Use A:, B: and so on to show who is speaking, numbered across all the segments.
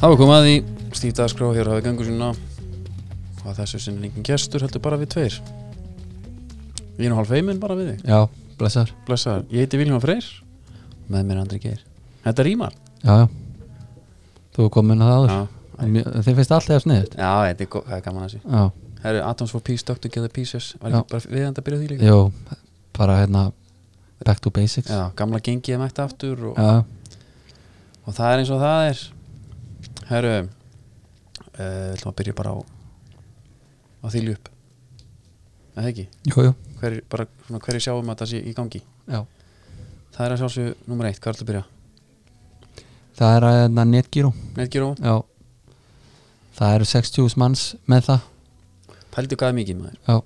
A: Þá er komið að því Stíf Dagskrá hér hafi gangu sína og að þessu sinni er engin gestur heldur bara við tveir Ég er nú hálf feiminn bara við þig
B: Já, blessaður
A: Blessaður, ég heiti Viljón Freyr með mér er Andri Geir Þetta rýmar
B: Já, já Þú er komin að það áður
A: Já,
B: Mér- Þið finnst alltaf að sniðið
A: já þetta er, gó- það er gaman að þessi
B: Já,
A: Herru, Atoms for Peace, Doctor Gather Pieces Var
B: Já.
A: ekki bara við þetta að byrja á því líka?
B: jú, bara hérna Back to basics
A: Já, gamla gengið er mætt aftur og,
B: já,
A: og það er eins og það er Herru uh, ætlum að byrja bara á á þýlju upp Er Það ekki?
B: jú, jú.
A: Hver, bara svona hverju sjáum að það sé í gangi
B: já.
A: Það er að sjálfsög nummer eitt, hvað er að byrja?
B: Það er að hérna netgíró
A: Netgyro,
B: Já Það eru 60 manns með það
A: pældu hvað er mikið maður
B: Já,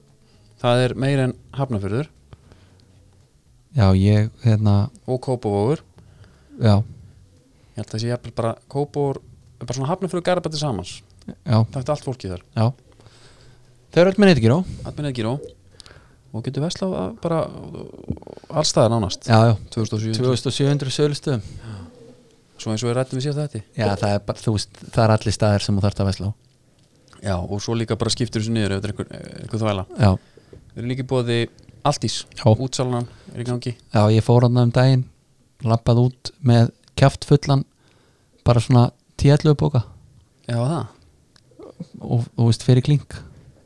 A: Það er meira en Hafnafjörður
B: já ég hérna
A: og Kópavogur
B: Já,
A: Ég held að það sé jafnvel bara Kópavogur bara svona Hafnafjörður og Garabæti samans
B: já,
A: Það er allt fólkið þar,
B: já Þau eru öll með netgíró
A: allt með Netgyro og getur veslað að bara alls staðar nánast
B: Já, já
A: 2007,
B: 2700 sölustöðum
A: svo eins og við rættum við sér þetta
B: Já, það er, bara, þú veist, það er allir staðir sem þú þarft að vesla á
A: Já, og svo líka bara skiptur þessu niður ef þetta er einhver, eh, einhver þvæla
B: Já,
A: Við erum líka bóði Altís,
B: já
A: útsalanan er í gangi
B: Já, ég fór hann um daginn lappað út með kjaft fullan bara svona tíallu bóka
A: Já, það
B: og þú veist fyrir klink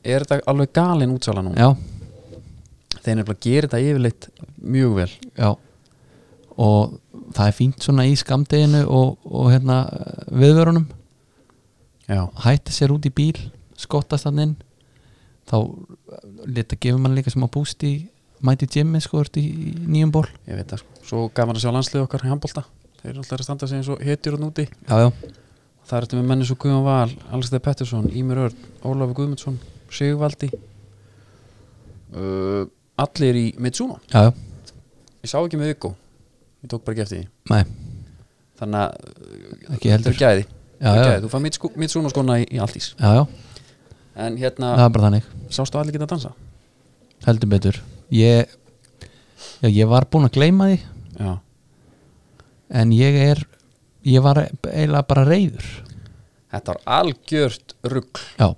A: Er þetta alveg galin útsala núna?
B: Já,
A: Þeir nefnilega gerir þetta yfirleitt mjög vel
B: já og það er fínt svona í skamdeginu og, og hérna viðvörunum
A: Já,
B: hætti sér út í bíl, skottast hann inn þá leta gefur mann líka smá búst í mæti Jimmy sko, ertu í í nýjum ból
A: Ég veit það sko. Svo gaman að sjá landslið okkar í handbólta. Þeir eru alltaf að standa sig eins og hetjur hann úti.
B: Já, já,
A: Það er þetta með menni svo Guðjón Val, Alistair Pettersson, Ímir Örn, Ólafur Guðmundsson, Sigvaldi. Uh, allir í Mitsuno.
B: já, já,
A: Ég sá ekki með Viggo. Ég tók bara ekki eftir því.
B: nei,
A: Þannig að
B: ekki
A: þetta
B: heldur
A: er gæði.
B: Já,
A: Þetta er
B: já,
A: gæði. Þú fann Mitsuno, Mitsuno skona í, í alltís.
B: já, já,
A: En hérna,
B: það er bara þannig
A: sástu allir geta að dansa?
B: heldur betur ég, já, ég var búinn að gleyma því
A: Já.
B: en ég er ég var eiginlega bara reyður
A: Þetta var algjört rugg.
B: já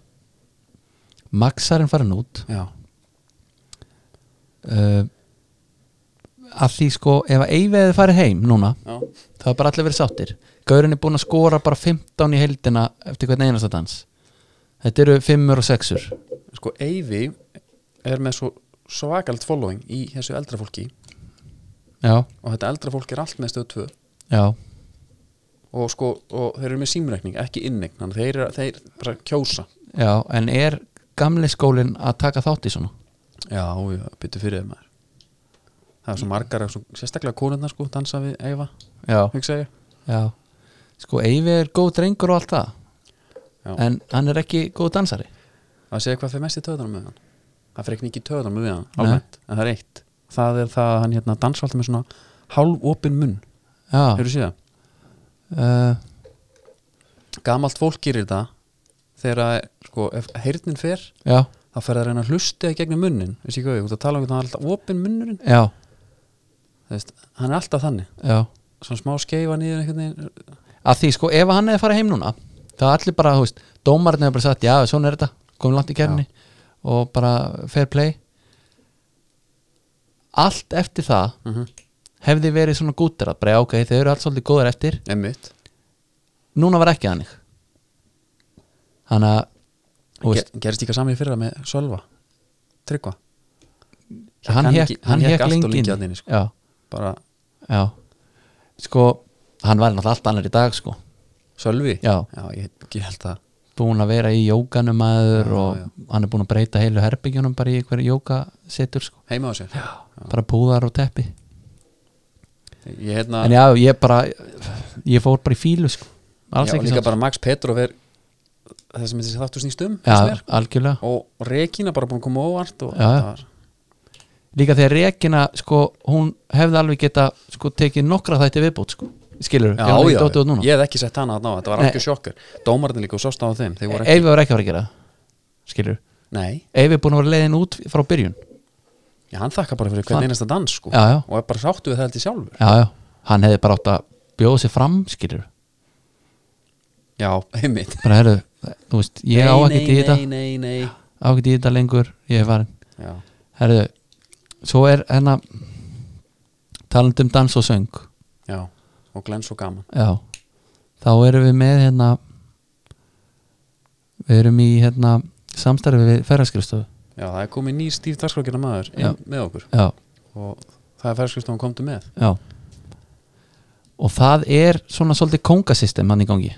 B: Maxarinn farin út
A: Já.
B: uh, að því sko ef að Eyveði farið heim núna
A: Já.
B: það er bara allir verið sáttir Gaurin er búinn að skora bara 15 í heildina eftir hvern einasta dans þetta eru 5 og 6
A: Sko, Eyvi er með svo svakalt following í þessu eldra fólki
B: já,
A: og þetta eldra fólk er allt með stöð 2
B: já,
A: og sko, og þeir eru með símreikning ekki innegn, þannig að þeir, eru- þeir bara kjósa
B: já en er gamli skólinn að taka þátt í svona
A: já, já, byttu fyrir þeim maður það er svo margar, svo, sérstaklega konurnar sko, dansa við Eyva,
B: já,
A: hugsa ég
B: Já, sko Eyvi er góð drengur og allt það
A: Já.
B: En hann er ekki góð dansari
A: að segja hvað fyrir mest í töðanum með hann það fyrir ekki í töðanum með hann,
B: Nei.
A: almennt en það er eitt, það er það að hann hérna dansa alltaf með svona hálfopin munn
B: Já,
A: hefur þú séð það?
B: uh,
A: Gamalt fólk gerir það þegar, að, sko, ef heyrnin fer
B: já,
A: þá fer það að reyna að hlusta í gegnum munnin veist ég hvað, ég út að tala um hvernig það er alltaf opin munnurinn
B: já,
A: þú veist, hann er alltaf þannig
B: já
A: svona smá skeifa niður einhvern veginn
B: Að því sko ef hann hefði farið heim núna Það er allir bara, þú veist, dómarinn hefur bara sagt Já, svona er þetta, komum langt í kefni Og bara fair play Allt eftir það
A: mm -hmm.
B: Hefði verið svona gúttir að bara, já, ok, þau eru alls svolítið góðar eftir
A: einmitt
B: Núna var ekki þannig Þannig að þú
A: Ger, gerist líka samið fyrra með Sölva Tryggva
B: hann
A: Hann
B: hekk
A: ekki- hann hékk allt of lengi
B: lengi inni.
A: þarna inni, sko.
B: já,
A: bara
B: já sko, hann var náttúrulega allt annar í dag sko,
A: Sölvi
B: Já.
A: ég, ég held að
B: búin að vera í jókanum aður
A: Já,
B: og
A: já.
B: hann er búin að breyta heilu herbyggjunum bara í einhverju jókasettur sko,
A: heima á sér já.
B: bara púðar og teppi
A: ég hérna
B: en já, ég bara ég fór bara í fílu sko, alls
A: já,
B: ekki
A: líka
B: samt.
A: bara Max Petrov er það sem þessi þáttu snýst um finnst
B: já,
A: mér.
B: algjörlega
A: og Regína bara búin að koma óvart og
B: Já, já.
A: það var
B: líka þegar Regina, sko, hún hefði alveg geta, sko, tekið nokkra þætti viðbútt sko, skilur,
A: Já, já, ég hef ekki sett hana þarna á, þetta var
B: Nei. Eh,
A: algjör sjokkur Dómarinn líka og sást á þeim, þeir voru ekki
B: Eyvi var ekki að fara að gera það skilur,
A: Nei,
B: Eyvi er búin að vera leiðin út frá byrjun
A: já, hann þakka bara fyrir
B: Hann-
A: hvern einasta dans sko.
B: já, já,
A: og er bara sáttu við það held í sjálfur
B: já, já, hann hefði bara átt að bjóða sér fram, skilur
A: já, einmitt
B: bara herru, þú veist, ég á
A: Nei,
B: ekkert í
A: nei,
B: þetta
A: nei, nei, nei.
B: á ekkert í þetta lengur, ég er farin
A: Já,
B: herru, svo er hérna talandi um dans og söng
A: já, og glens og gaman
B: já, þá erum við með hérna við erum í hérna samstarfi við ferðarskristofu
A: já, það er komið ný stíf dagskrákina maður
B: Já.
A: inn með okkur
B: já,
A: og það er ferskustofan komdu með
B: já og það er svona svolítið kongasystem hann í gangi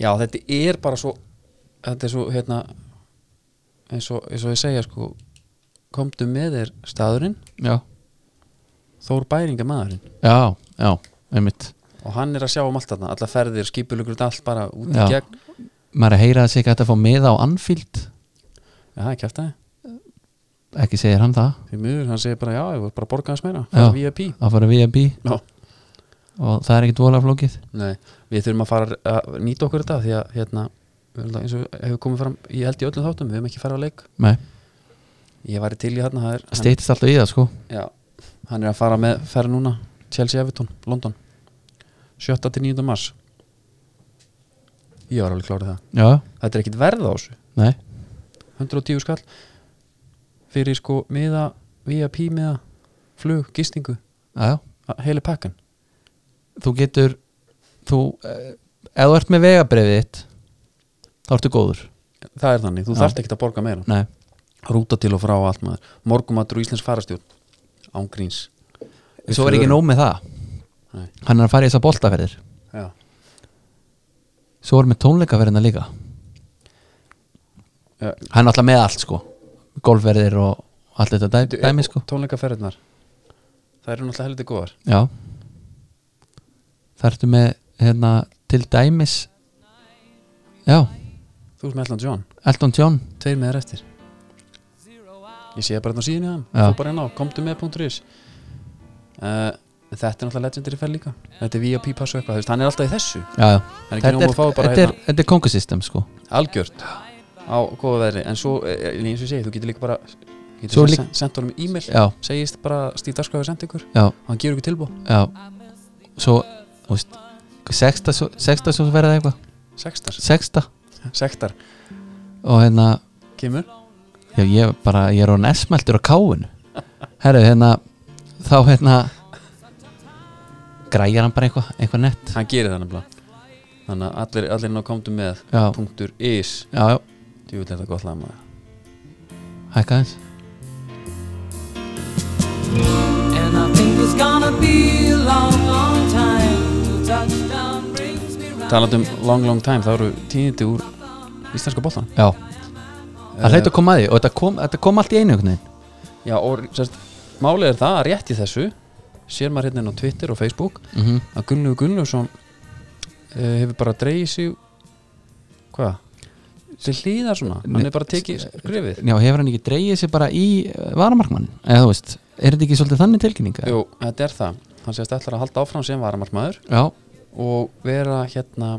A: já, þetta er bara svo þetta er svo, hérna eins og, eins og ég segja, sko komdu með er staðurinn
B: já,
A: Þór Bæringa maðurinn
B: já, já, einmitt
A: og hann er að sjá um allt þarna, alla ferðir, skipulugur allt bara út í
B: Já.
A: gegn
B: maður er að heyra að segja að þetta fá með á Anfield
A: Já, það er kæft aðeins
B: ekki segir hann það
A: Því miður, hann segir bara, já, ég voru bara að borga hans meira
B: Já.
A: Það er VIP
B: að fara við að bí
A: Já.
B: og það er ekkit vola flókið
A: Nei, við þurfum að fara að nýta okkur þetta því að, hérna, við erum það eins og hefur komið fram í held í öllum þáttum, við hefum ekki farið á leik
B: Nei,
A: Ég væri til í hérna, það er hann,
B: steytist alltaf í það sko
A: já, hann er að fara með ferð núna, Chelsea Everton, London 7. til 9. mars Ég var alveg klárið það
B: Já,
A: Þetta er ekkit verð á þessu
B: nei,
A: 110 skall fyrir sko miða, VIP miða flug, gistingu,
B: já, já.
A: a- heilu pakkan
B: þú getur þú, eh, ef þú ert með vegabrefið þitt þá ertu góður
A: það er þannig, þú
B: Já.
A: þarft ekki að borga meira
B: Nei,
A: rúta til og frá og allt maður morgumatur og Íslands farastjórn án gríns Við
B: svo er ekki
A: förum.
B: nóg með það
A: Nei.
B: hann er að fara í þessa boltaferðir
A: Já.
B: svo er með tónleikaferðina líka
A: Já.
B: hann er alltaf með allt sko golfverðir og allt þetta dæ,
A: Bíddu,
B: dæmi sko
A: tónleikaferðirnar það eru náttúrulega heldur góðar
B: Já Það ertu með hérna til dæmis Já,
A: þú veist með Elton John,
B: Elton John
A: tveir með þér eftir ég sé bara hérna á síðan í hann
B: Já.
A: þú bara hérna á, komdu með .is uh, þetta er náttúrulega legendary ferð líka þetta er VIP pass og eitthvað, þú veist, hann er alltaf í þessu
B: Já, já
A: hann er ekki
B: Þetta
A: nóg um
B: er,
A: að fá bara hérna-
B: þetta er, þetta er kongasystem sko
A: algjört á góða veðri en svo, eh, en eins og ég segi, þú getur líka bara getur
B: Svo
A: svo
B: er
A: líka
B: lík-
A: sendt honum e-mail,
B: Já,
A: segist bara Stíf Darskvæði sendi ykkur,
B: já,
A: hann gefur ykkur tilbúð
B: já Svo, þú veist Sexta, svo- sexta svo verða eitthvað
A: sextar,
B: Sexta
A: sektar,
B: Og hérna,
A: kemur
B: já ég bara Ég er á nesmeltur á káinu Herru, hérna Þá hérna Græjar hann bara eitthvað, eitthvað nett
A: hann gerir það nefnilega þannig að allir, allir ná komdu með
B: Já,
A: punktur is,
B: já, já,
A: djúvill er það gott lag maður
B: hækka eins
C: And I think it's gonna be a long, long time till touchdown brings me round.
A: talandi um long long time, það eru tíðindi úr íslenska boltan
B: Já Það hleyt að koma að því og þetta kom, þetta kom allt í einu einhvern veginn
A: Eh, já, og sérst, málið er það að rétt í þessu sér maður hérna inn á Twitter og Facebook
B: mm -hmm.
A: að Gunnlaugur Gunnlaugsson uh, hefur bara dreigið sig hvað? til hlýðar svona, hann
B: Nei,
A: er bara tekið skrifið
B: Já, hefur hann ekki dreigið sér bara í eh, varamarkmann eða þú veist, er þetta ekki svolítið þannig tilkynninga?
A: Jú, þetta er það, hann sést ætlar að halda áfram sem varamarkmaður
B: Já,
A: og vera hérna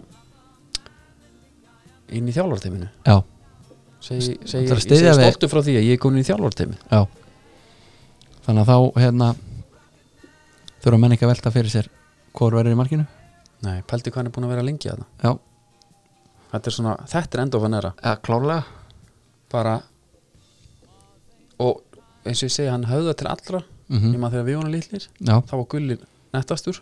A: inn í þjálfarteiminu
B: já,
A: segi,
B: St-
A: segi,
B: ætlar
A: ég
B: að styðja
A: segi
B: við-
A: stoltu frá því að ég er komin í þjálfarteimi
B: já Þannig að þá, hérna þurfa menn ekki að velta fyrir sér hvor verður í markinu?
A: nei, pældi hvað hann er búin að vera lengi að það
B: Já,
A: þetta er svona, þetta er endofa næra
B: ja, klálega
A: bara og eins og ég segi, hann höfða til allra
B: Mm.
A: nema þegar við vonum litlir,
B: mhm. Já,
A: þá var gullir nettastur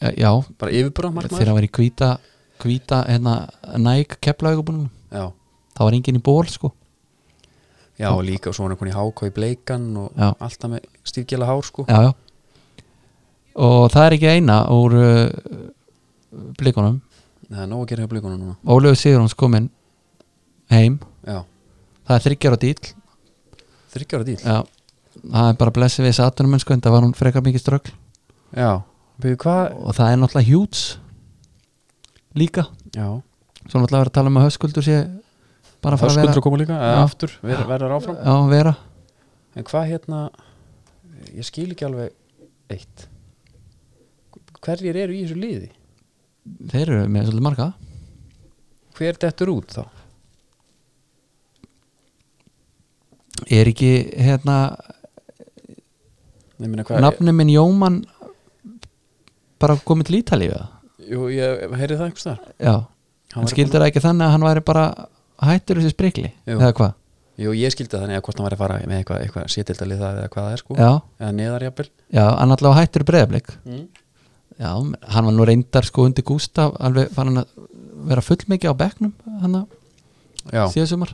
B: eh, já
A: bara yfirbúra markmaður
B: þegar að vera í hvíta hvíta, hérna, næg keplaugubunum
A: já,
B: það var enginn í ból, sko
A: já og líka og svo hann er konið háká í bleikan og
B: Já.
A: alltaf með stífgjala hár sko
B: já, já. og það er ekki eina úr uh, blikunum
A: það er nóg að gera hjá blíkunum núna
B: Ólöf Sigurjóns kominn heim
A: já,
B: það er þryggjar og dýl
A: þryggjára dýl
B: já. það er bara blessið við satunum en sko en það var hún frekar mikið strögl
A: já, byrju hvað
B: og það er náttúrulega hjúts líka
A: já,
B: svo náttúrulega verið að tala um að höskuldur sé bara að
A: það
B: fara að
A: skuldur
B: vera
A: að koma líka eða
B: Já.
A: aftur, ver, verður áfram
B: já, vera
A: en hvað hérna ég skil ekki alveg eitt hverjir eru í þessu liði
B: þeir eru með svolítið marga
A: hver dettur út þá
B: er ekki hérna
A: ég meina hvað
B: nafni minn Jóman bara komið til Ítalíu eða?
A: jú, ég heyrði það einhvers þar
B: já,
A: Hann
B: en
A: væri
B: skildur það ekki þannig að hann væri bara hættur þessi sprikli,
A: Jú.
B: eða hvað
A: Jú, ég skildi það þannig að hvort hann var að fara með eitthvað, eitthvað sétildalið það eða hvað það er sko
B: já,
A: eða neðar jafnvel
B: já, hann allavega hættur breyðablik
A: mm.
B: já, hann var nú reyndar sko undir Gústaf alveg fann hann að vera fullmikið á bekknum hann að
A: Já,
B: síða sumar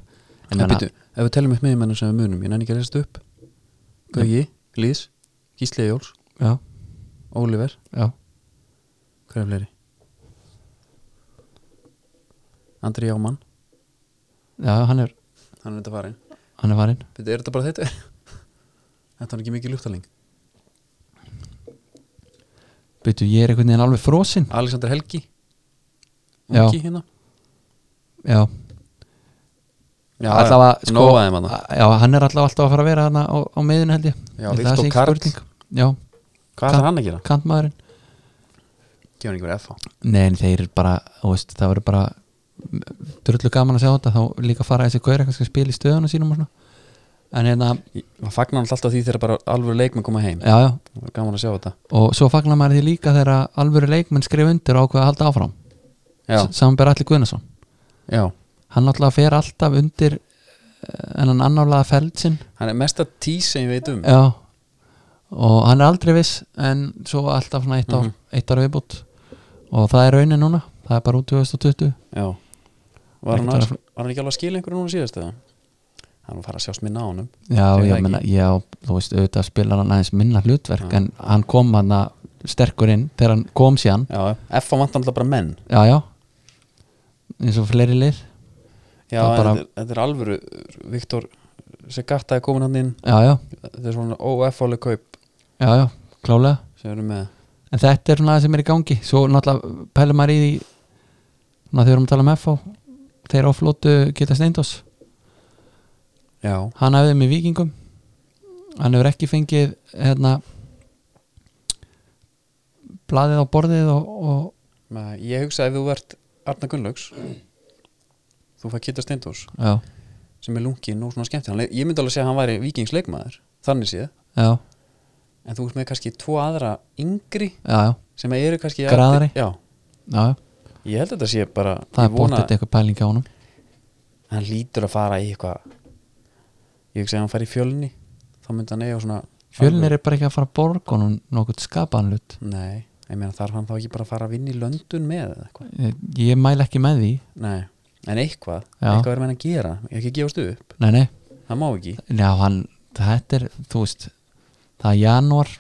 B: en
A: en
B: hann
A: býtu, ef við telum upp með mennum sem við munum ég nenni ekki að lesa þetta upp Gauji, Lýðs, Gísli Jóls,
B: já,
A: Oliver
B: já,
A: Hver er fleiri? Andri Jámann
B: já, hann er
A: Hann er þetta farin
B: hann er varinn,
A: Býtu, er þetta bara þetta? þetta var ekki mikið ljúftaling
B: byrju, ég er einhvern veginn alveg frosinn
A: Alexander Helgi
B: Já.
A: Ungi hérna
B: já,
A: Já,
B: allavega sko,
A: já, nóg af þeim þarna.
B: já, hann er allavega alltaf að fara að vera hann á, á meðinu held ég
A: Já,
B: Ég held að
A: Viktor
B: það sé ekki
A: Karl.
B: spurning. já,
A: Hvað
B: Kann-
A: er hann að gera?
B: kantmaðurinn
A: Gefur hann ekki verið FH
B: Nei, en þeir eru bara, þú veist, það verður bara drullu gaman að sjá þetta þá líka fara þessi gaur eitthvað að spila í stöðunum sínum og svona en hérna,
A: Það fagnar hann alltaf því þegar bara alvöru leikmenn koma heim
B: já já
A: Það var Gaman að sjá þetta
B: og svo fagnar maður því líka þegar að alvöru leikmenn skrif undir og ákveða að halda áfram
A: Já,
B: samanber Alli Guðnason
A: já
B: hann alltaf fer alltaf undir eh, en hann annálaða feldsinn
A: Hann er mesta tís sem ég veit um
B: já, og hann er aldrei viss en svo alltaf svona eitt,
A: Mhm.
B: ár, eitt ára viðbútt og það er raunin núna það er bara út 2020
A: Já Var hann,
B: Ekkert
A: að, var hann ekki alveg að skila einhverju núna síðast eða? Hann var að fara að sjást minna á honum
B: Já,
A: Segir það
B: ég
A: ekki?
B: meina, já, þú veist, auðvitað spilar hann aðeins minna hlutverk
A: Já.
B: en hann kom hann sterkur inn þegar hann kom síðan
A: Já, FH vantar alltaf bara menn
B: Já, já, eins og fleiri lið
A: Já,
B: Það
A: en
B: bara-
A: þetta, er- þetta er alvöru Viktor Segata er komin hann inn
B: Já, já,
A: Þetta er svona óFH-leg kaup
B: já, já, klálega
A: sem eru með
B: En þetta er svona aðeins sem er í gangi Svo náttúrulega pælum maður í því Svona þegar við erum að tala um FH Þeir áflótu geta Steindós
A: Já,
B: Hann hafði með vikingum Hann hefur ekki fengið hérna blaðið á borðið og, og
A: með, ég hugsa ef þú ert Arna Gunnlaugs þú fæ Kittar Steindós
B: já,
A: sem er lungin og svona skemmt ég myndi alveg segja að hann væri vikingsleikmaður þannig séð,
B: já,
A: en þú ert með kannski tvo aðra yngri
B: já, já,
A: sem eru kannski
B: Graðari.
A: Já,
B: já, já.
A: ég held að þetta sé bara
B: það
A: ég
B: er bóttið eitthvað pæling á honum
A: hann lítur að fara í eitthvað ég hugsa að hann fari í fjölni þá myndi hann eiga svona
B: fjölnir er bara ekki að fara að borga honum nokkuð skapanlut
A: Nei, ég meina þarf hann þá ekki bara að fara að vinna í löndun með eða eitthvað
B: ég mæl ekki með því
A: Nei, en eitthvað,
B: Já.
A: eitthvað er með að gera ekki gefast upp,
B: nei, nei,
A: það má ekki
B: já, hann, þetta er, þú veist það er janúar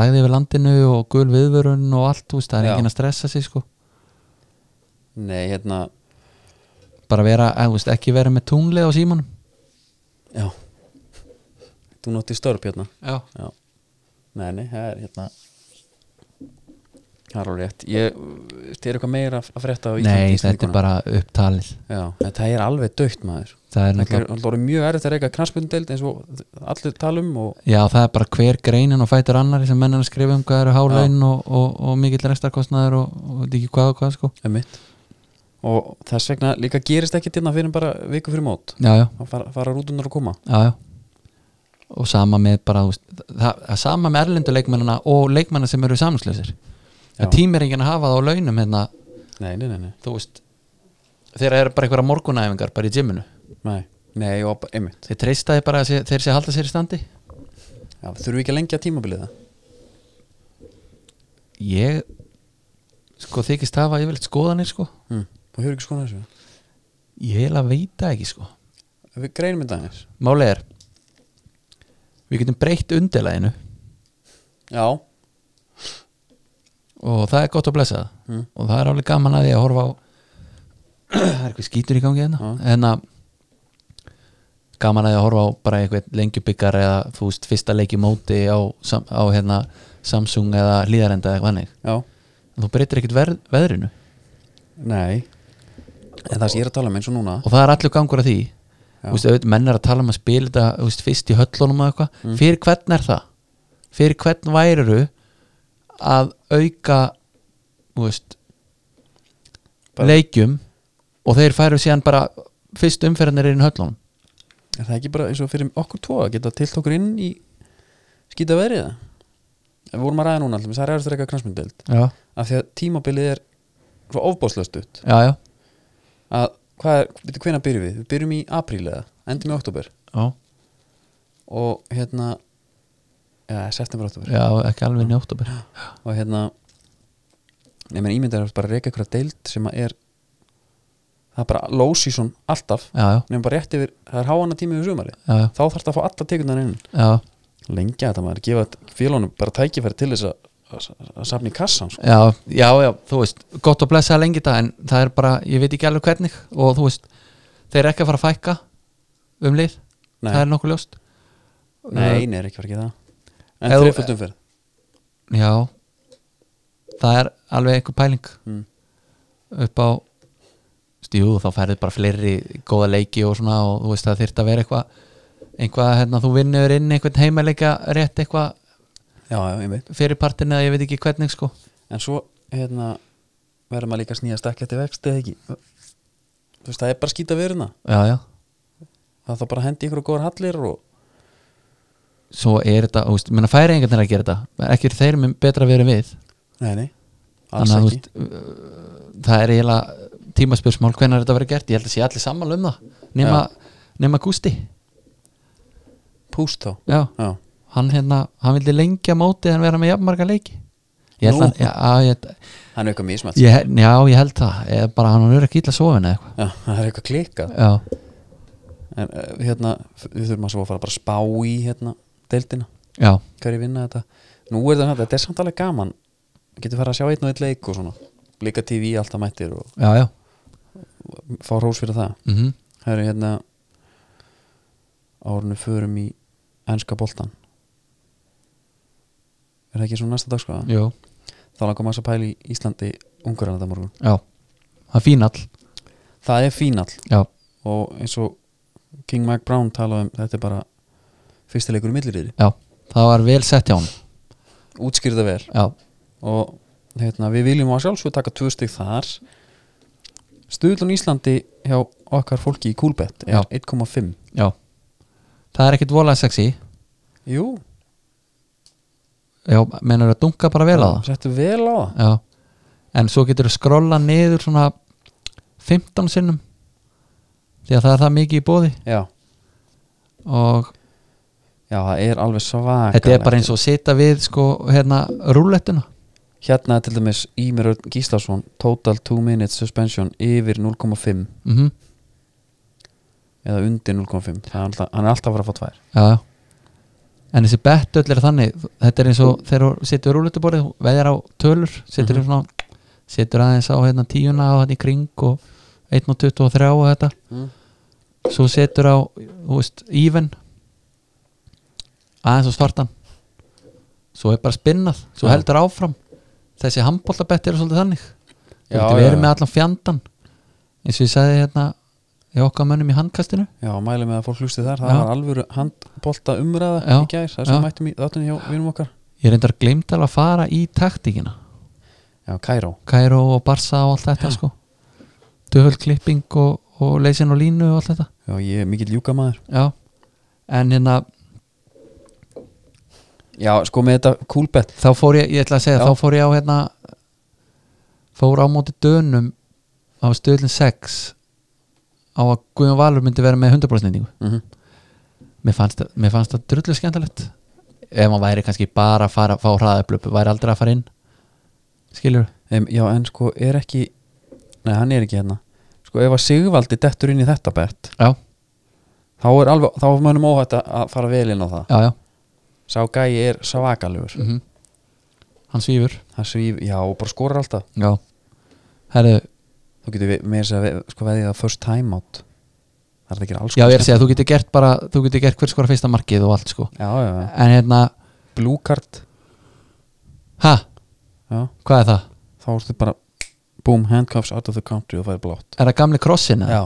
B: lagði yfir landinu og gul viðvörun og allt, þú veist, það er
A: Já.
B: enginn að stressa sig sko,
A: Nei, hérna,
B: bara vera, eða, þú veist, ekki vera með tunglið á símanum
A: já þú nótti störp hérna
B: já,
A: Já, nei, nei, það er hérna Það er alveg rétt Ég, þetta er eitthvað meira að frétta á
B: nei,
A: Íslandi
B: þetta er bara upptalið
A: Já, þetta er alveg dögt maður
B: það er
A: Það er
B: náttúrulega,
A: alveg orðið mjög erfitt að reyka knarsbundeld eins og allir talum og
B: já, það er bara hver greinin og fætur annari sem menn er að skrifa um hvað eru hálaun og, og, og mikill restarkostnaður og, og þetta ekki hvað og hvað sko,
A: um mitt og þess vegna líka gerist ekki dyrna fyrir bara viku fyrir mót
B: já, já
A: þá fara, fara rútunar að koma
B: já, já. og sama með bara þú veist, það, það sama með erlendu leikmennina og leikmennar sem eru samlingslausir
A: Já.
B: það tímir enginn að hafa það á launum hérna,
A: Nei, nei, nei, nei,
B: þú veist þeir eru bara einhverja morgunæfingar bara í gyminu
A: nei, nei og bara- einmitt
B: þeir treystaði bara að sé, þeir sé að halda sér í standi
A: Já, þurfum við ekki að lengja tímabilið það
B: ég sko þykist hafa yfirleitt skoðanir sko
A: hm. og hefur ekki skoðan þessu
B: ég heila veit það ekki sko
A: Við greinum þetta aðeins
B: máli er við getum breytt undirleginu
A: Já,
B: og það er gott að blessa það
A: Mm.
B: og það er alveg gaman að því að horfa á það er eitthvað skítur í gangi hérna
A: Já.
B: en að gaman að því að horfa á bara eitthvað lengjubikar eða þú veist fyrsta leiki móti á, sam, á hérna, Samsung eða hlýðarenda eða eitthvað hannig
A: já,
B: þú breytir ekkert verð, veðrinu
A: nei En það sem ég er að tala um eins og núna
B: og það er allur gangur að því
A: Já.
B: Þú veist, auðvitað, menn er að tala um að spila þetta þú veist, fyrst í höllunum og eitthvað fyrir hvern er það? fyrir hvern væriru að auka þú veist,
A: Bara-
B: leikjum og þeir færu síðan bara fyrst umferðinir inn í höllunum
A: Er það ekki bara eins og fyrir okkur tvo að geta tilt okkur inn í skýta verið það? Við vorum að ræða núna alltaf, það er erfitt að reyka kransmyndeld
B: já,
A: af því að tímabilið er svo ofbáslega stutt
B: já, já,
A: að hvað er, veitu hvenær byrjum við? Við byrjum í apríl eða, endum í oktober
B: já,
A: og hérna eða september oktober
B: já ekki alveg inn í óttúber
A: og hérna ég menn ímyndar er bara að reyka einhverja deild sem að er það er bara low season alltaf
B: já, já,
A: nefnum bara rétt yfir, það er háanna tími yfir sumari
B: já, já,
A: þá þarf það að fá alla tekundan inn
B: já,
A: lengja þetta maður, gefa félónum bara tækifæri til þess að, að, að safna í kassan sko.
B: já, já, já þú veist, gott að blessa lengi í dag en það er bara, ég veit ekki alveg hvernig og þú veist, þeir eru ekki að fara að fækka um lið,
A: Nei.
B: það er nokkuð ljóst
A: nei, nei, er ekki verið ekki það en
B: Ef þú-
A: þreiföldum fyrir
B: já það er alveg einhver pæling
A: Mm.
B: upp á stíu, þá færðu bara fleiri góða leiki og svona og þú veist, það þyrft að vera eitthvað einhvað, hérna, þú vinnur inn einhvern heimaleika rétt eitthvað
A: já, já, ég veit,
B: fyrir partin eða ég veit ekki hvernig sko
A: en svo hérna verður maður líka að snýja stakk eftir vext eða ekki þú veist, það er bara skýta veruna
B: já, já.
A: það þá bara að hendi ykkur og góðar hallir og
B: svo er þetta, þú veist, menna færi einhvern er að gera þetta ekki eru þeir með betra verið við
A: nei, nei, alls
B: að,
A: ekki
B: þú veist, uh, það er eiginlega tímaspjörsmál hvenær þetta verið gert, ég held að sé allir sammála um það nema, nema Gústi
A: púst þá
B: já,
A: já,
B: hann hérna, hann vildi lengja mótið en vera með jafnmarga leiki ég held
A: Nú.
B: að, já, ég,
A: hann er eitthvað mismætt
B: ég, held- já, ég held það ég, bara hann er ekki illa sofin eða
A: já, það er eitthvað klikkað
B: eitthvað já,
A: en uh, hérna, við þurfum að svo að fara bara að spá í hérna, deildina
B: já,
A: hverju vinna þetta nú er það, þetta er samt alveg gaman getur fara að sjá einn og einn leik og svona líka TV alltaf mættir og
B: já, já
A: fá rós fyrir það
B: mm
A: það eru hérna árunni förum í ennska boltan er það ekki svona næsta dag sko
B: jú,
A: þá langar maður að pæla í Íslandi ungurinn þetta morgun
B: já það er fínall,
A: það er fínall
B: já,
A: og eins og King Mac Brown talaði um þetta er bara fyrsti leikur í millirriðri
B: já það var vel sett hjá hann
A: útskýrða vel
B: já,
A: og hérna, við viljum á sjálfsög taka tvö stygg þar stuðlun Íslandi hjá okkar fólki í Kúlbett
B: Já.
A: er 1,5
B: já það er ekkit vola sexy
A: Jú,
B: já, menur að dunka bara vel á það
A: settu vel á það
B: já, en svo getur þú skrolla niður svona 15 sinnum því að það er það mikið í bóði
A: Já,
B: og
A: já það er alveg svakalegt
B: þetta er bara eins og að sita við sko hérna rúlettuna
A: Hérna er til dæmis Ímir Örn Gíslason Total 2 minutes suspension yfir 0,5
B: mm
A: eða undir 0,5 Það er alltaf- hann er alltaf að fara að fá tvær
B: já. en þessi bettöll er þannig þetta er eins og þegar þú situr við rúlettuborðið veðjar á tölur, situr, mm svona, situr aðeins á hérna, tíuna og hérna í kring og 1.23 og þetta
A: mm.
B: svo setur á þú veist, even aðeins og svartan svo er bara spinnað svo
A: Já.
B: heldur áfram þessi handbóltabett eru svolítið þannig
A: Já,
B: þú getur verið
A: já,
B: með
A: já.
B: allan fjandan eins og ég sagði hérna ég okkar mönnum í handkastinu
A: Já, mælum með að fólk hlusti þar, það
B: Já.
A: var alvöru handbolta umræða
B: Já.
A: í gær, það er svo
B: Já.
A: mættum í þáttunni hjá vinum okkar
B: ég reyndar gleymd alveg að fara í taktíkina
A: Já, Kæró
B: Kairó og Barsa og allt þetta sko duhöld klipping og, og leysin og línu og allt þetta
A: Já, ég er mikill ljúkamaður
B: já en hérna
A: Já, sko með þetta Kúlbett
B: þá fór ég, ég ætla að segja,
A: Já.
B: þá fór ég á hérna fór á móti dönum á stöðlinn 6 á að Guðjón Valur myndi vera með 100% nýtingu
A: mm
B: mér fannst, það- mér fannst það drullu skemmtilegt ef maður væri kannski bara að fara, fá hraðaplöpu, væri aldrei að fara inn skilur
A: um, Já, en sko er ekki Nei, hann er ekki hérna Sko ef að Sigvaldi dettur inn í þetta bett
B: já,
A: þá er alveg, þá er mönnum óhætt að- að fara vel inn á það
B: já, já,
A: Sá gæi er svakalugur
B: mhm hann svífur
A: Hann svíf, já, og bara skorar alltaf
B: já, herðu
A: Þú getur við, með þess að við, sko veðið að first time out Það er það ekki alls
B: já, ég er að
A: konar
B: segja, þú getur gert bara þú getur gert hver skora fyrsta markið og allt sko
A: skemmt. Já, já, já,
B: en hérna,
A: blue card
B: ha,
A: Já,
B: hvað er það?
A: þá ertu bara Boom, handcuffs out of the country og það er blátt
B: er það gamli krossin eða?
A: Já,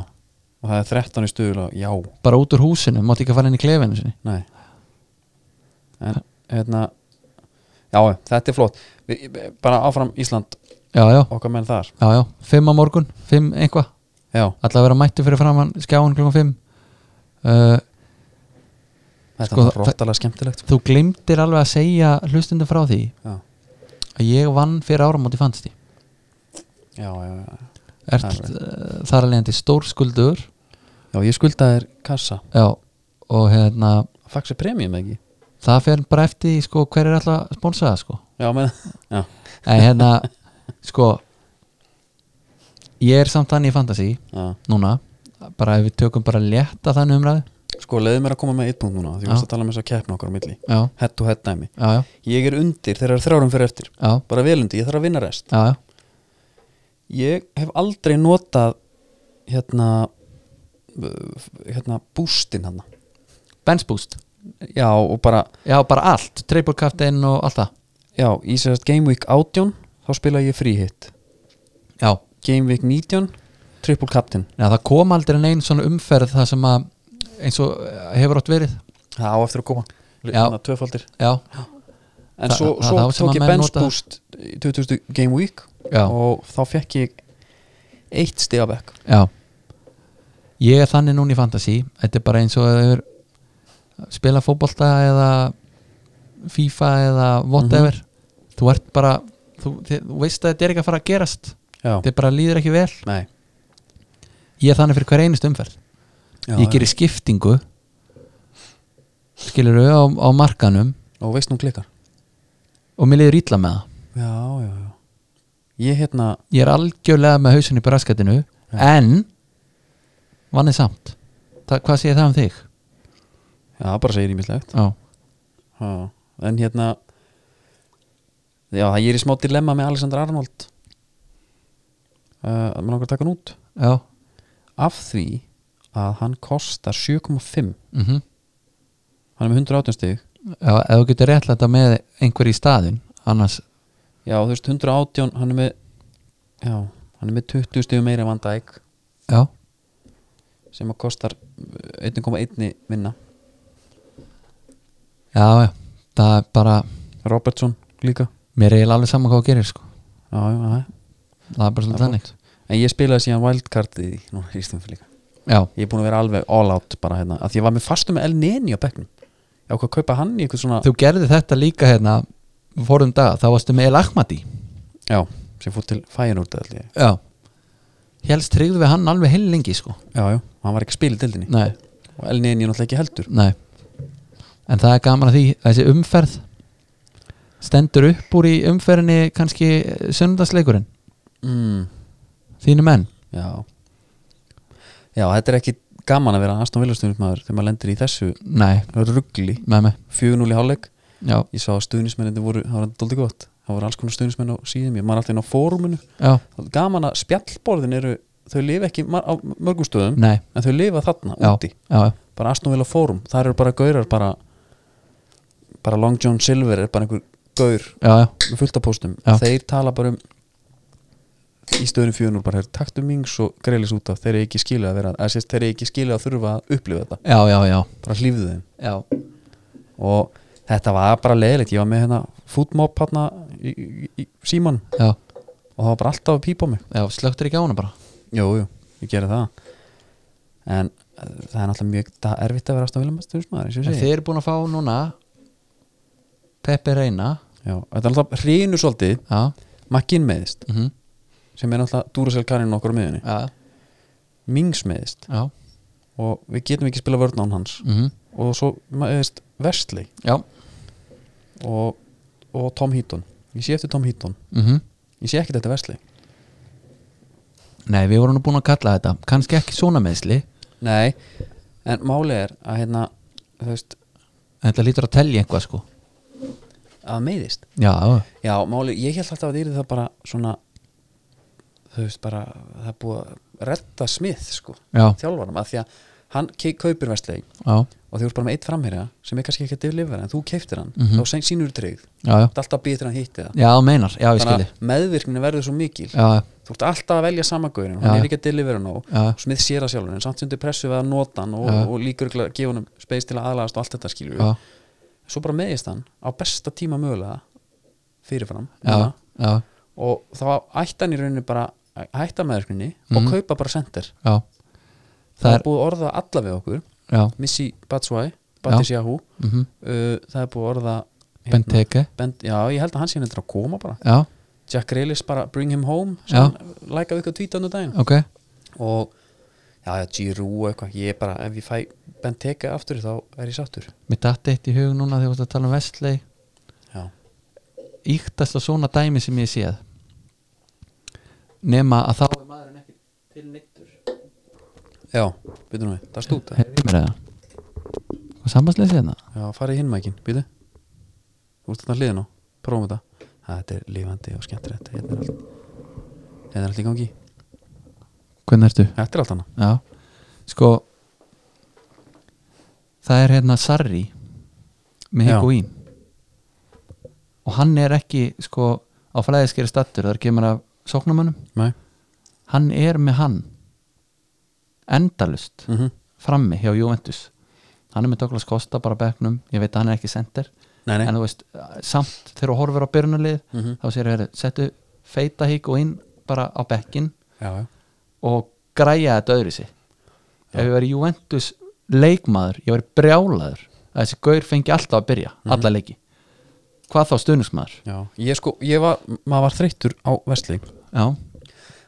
A: og það er 13 í stuðul og já,
B: bara út úr húsinu, mátt ekki að fara inn í klefinu sinni
A: Nei En hérna Já, þetta er flott við, Bara áfram Ísland,
B: já, já,
A: okkar menn þar
B: já, já, fimm á morgun fimm einhva,
A: Já,
B: alltaf vera mættu fyrir framann skjáin klukkan fimm uh,
A: þetta
B: Sko,
A: er
B: það-
A: rottalega skemmtilegt
B: þú glimtir alveg að segja hlustundum frá því
A: Já,
B: að ég vann fyrir áramóti fannst því
A: já, já, já.
B: ert
A: Alveg.
B: uh, þar að leiðandi stórskuldur
A: já ég skulda þér kassa
B: já, og hérna
A: faxi premium eða ekki
B: það fer bara eftir því, sko, hver er alltaf að sponsa það sko
A: já, menn, já,
B: en hérna sko ég er samt þannig í fantasy
A: já.
B: núna bara ef við tökum bara létta þann umræðu
A: sko, leiði mér að koma með eitt punkt núna því
B: Já.
A: ég varst að tala með þess að keppna okkar á milli
B: já,
A: hett to hett dæmi
B: já, já,
A: ég er undir þegar þrjárum um fyrir eftir
B: já,
A: bara vel undir, ég þarf að vinna rest
B: já, já.
A: ég hef aldrei notað hérna uh, hérna bústinn hann
B: bensboost,
A: já og bara,
B: já bara allt triple captain og allt það
A: já í sérst Game Week 18 þá spila ég fríhitt
B: já,
A: Game Week 19 triple captain
B: já það kom aldrei neinn svona umferð það sem að eins og eh, hefur átt verið
A: það á eftir að koma
B: Já.
A: Hérna, tvöfaldir
B: já,
A: en
B: Þa-
A: svo,
B: það-
A: svo
B: það sem
A: tók
B: að
A: ég
B: menn
A: bench
B: nota-
A: boost í 2000 Game Week
B: já,
A: og þá fekk ég eitt stiga vekk
B: já ég er þannig núna í fantasy þetta er bara eins og hefur spila fótbolta eða FIFA eða whatever þú ert bara þú, þið, þú veist að þetta er ekki að fara að gerast
A: já,
B: þetta er bara líður ekki vel
A: nei
B: ég er þannig fyrir hver einust umferð
A: já,
B: ég gerir skiptingu skilur á, á markanum
A: já. og veist nú klikkar
B: og mér liður ítla með það
A: já, já, já ég hérna
B: ég er algjörlega með hausinni på raskatinu en vannið samt Þa, hvað segir það um þig?
A: já, það bara segir ímislegt
B: Já,
A: Já, en hérna Já, ég er í smá dilemma með Alexander Arnold uh, að maður langar að taka hann út
B: já,
A: af því að hann kostar 7,5
B: mm
A: hann er með 118 stig
B: já ef þú getur réttlæta með einhver í staðin annars,
A: Já, þú veist, 118, hann er með Já, hann er með 20 stig meira en Van Dijk
B: já
A: sem að kostar uh, 1,1 minna
B: já, já, það er bara
A: Robertson líka
B: mér er eiginlega alveg saman hvað þú gerir sko
A: Já, já, já
B: það er bara svolítið
A: Það er
B: þannig
A: En ég spilaði síðan wildcard í núna í stöðum líka
B: já,
A: Ég er búin að vera alveg all out bara hérna að því ég var með fastum með El Neni á bekknum Já, hvað kaupa hann í eitthvað svona
B: þú gerði þetta líka hérna fórum dag, þá varstu með El Ahmadi
A: Já, sem fór til Feyenoord held ég.
B: já, helst tryggðu við hann alveg heil lengi sko
A: Já, já, og hann var ekki að spila í dildinni
B: nei,
A: og Elneni er náttúrulega ekki heldur
B: nei en það er gaman að því, þessi umferð stendur upp úr í umferðinni kannski söndagsleikurinn
A: mm.
B: þínu menn,
A: Já Já, þetta er ekki gaman að vera Aston Villa stuðnismæður þegar maður lendir í þessu
B: nei,
A: ruggli,
B: með mig
A: 4-0 í hálfleik
B: já,
A: Ég sá að stuðnismennir voru, það var doldið gott það voru alls konar stuðnismenn á síðum, ég maður alltaf inn á fóruminu
B: já,
A: Það er Gaman að spjallborðin eru þau lifa ekki mar- á mörgum stöðum
B: nei
A: en þau lifa þarna
B: Já.
A: úti,
B: já,
A: bara Aston Villa fórum þar eru bara gaurar bara bara Long John Silver er bara einhver gaur
B: já, já,
A: með fullt af póstum
B: Já.
A: þeir tala bara um í stöðunum fjörnur bara þeir taktum mings og greilis út af þeir eru ekki skilið að vera að sést, þeir eru ekki skilið að þurfa að upplifa þetta
B: já, já, já,
A: bara hlýfðu þeim
B: já.
A: og þetta var bara leðilegt ég var með hérna fútmop hérna í, í, í síman
B: já.
A: og það var bara alltaf að pípa á mig
B: já slögtur ekki á hana bara
A: jú, jú, ég gerði það en eh, það er náttúrulega mjög da- erfitt að vera aðstofnvila með stjórnsmaður eins og
B: en
A: ég segi
B: þið eru búin að fá núna Pepe Reina
A: Já, þetta er náttúrulega hrinu svolítið
B: já,
A: makkinn meðist
B: mm
A: sem er náttúrulega Duracell kannin okkur á miðunni
B: já,
A: Mings meðist
B: já,
A: og við getum ekki spila vörn án hans
B: mm
A: og svo veist, Vestley
B: já.
A: og, og Tom Heaton ég sé eftir Tom Heaton,
B: Mm
A: ég sé ekkert þetta Vestley
B: nei, við vorum nú búin að kalla þetta kannski ekki svona meðsli
A: nei, en máli er að hérna, þú veist,
B: en þetta lítur að telja eitthvað sko
A: að meiðist
B: já, já,
A: já, máli, ég held alltaf að það yrði það bara svona þú veist, bara það er búið að redda smið, sko,
B: já,
A: þjálfarum að því að hann ke- kaupir Vestley
B: já,
A: og þið voru bara með eitt framherja sem er kannski ekki að delivera en þú keiftir hann,
B: Mhm.
A: þá sen- sýnur þú tryggð
B: já, já.
A: þetta er alltaf býtir hann hitti það
B: já þú meinar, já, ég skilji
A: þannig að meðvirknin verður svo mikil
B: já, já,
A: þú ert alltaf að velja samagaurin
B: Já.
A: hann er ekki að delivera nóg
B: já,
A: smið sér að sjálfur en samt sem þau pressu við að nota hann og,
B: Já.
A: og líkur að gefa hann space til að aðlagast og allt þetta skilur
B: já,
A: svo bara meðist hann á besta tíma mögulega fyrirfram
B: já,
A: núna,
B: já,
A: og þá ætti hann í rauninni bara að hætta meðurkninni
B: Mhm.
A: og kaupa bara sendir
B: já.
A: það er
B: það er
A: búið að orða alla við okkur
B: já,
A: Missy Batswai, Batis Yahoo
B: mm
A: uh, það er búið að orða
B: Benteke
A: Bent, já, ég held að hann sé nefnir að koma bara
B: já,
A: Jack Grealish bara Bring Him Home
B: Já.
A: sem hann lækaði ykkur tvítandu daginn
B: ok, og
A: já, já, Giroud og eitthvað, ég er bara ef ég fæ Benteke aftur þá er ég sáttur
B: mér datti eitt í hug núna þegar þú ert að tala um Vestley
A: já,
B: íktast á svona dæmi sem ég séð nema að þá er maðurinn ekki til neittur
A: já, býtu nú við, það er stúta
B: heyrðu í mér eða hérna? og sambandslega séð það
A: já, farið hinn mækin, býtu þú ert þarna hliðin á, prófum þetta Ha, þetta er lifandi og skemmtir þetta hérna er allt, hérna er allt í gangi
B: hvernig ertu?
A: þetta er allt annað
B: Já, sko það er hérna Sarri með
A: Já.
B: Higuín og hann er ekki sko á flæðiskeri stattur þar kemur af sóknumönnum
A: Nei.
B: hann er með hann endalust
A: Mm
B: frammi hjá Juventus hann er með Douglas Costa bara á bekknum ég veit að hann er ekki sendir
A: nei, nei,
B: en þú veist, samt þegar þú horfur á byrjunarlið
A: Mhm.
B: þá sér þér, settu feita Higuín bara á bekkin
A: já, já,
B: og græja þetta öðru sig ef ég væri Juventus leikmaður, ég væri brjálaður að þessi gaur fengi alltaf að byrja alla leiki, hvað þá stuðnismaður
A: já ég sko, ég var, maður var þreyttur á Vestlík
B: já,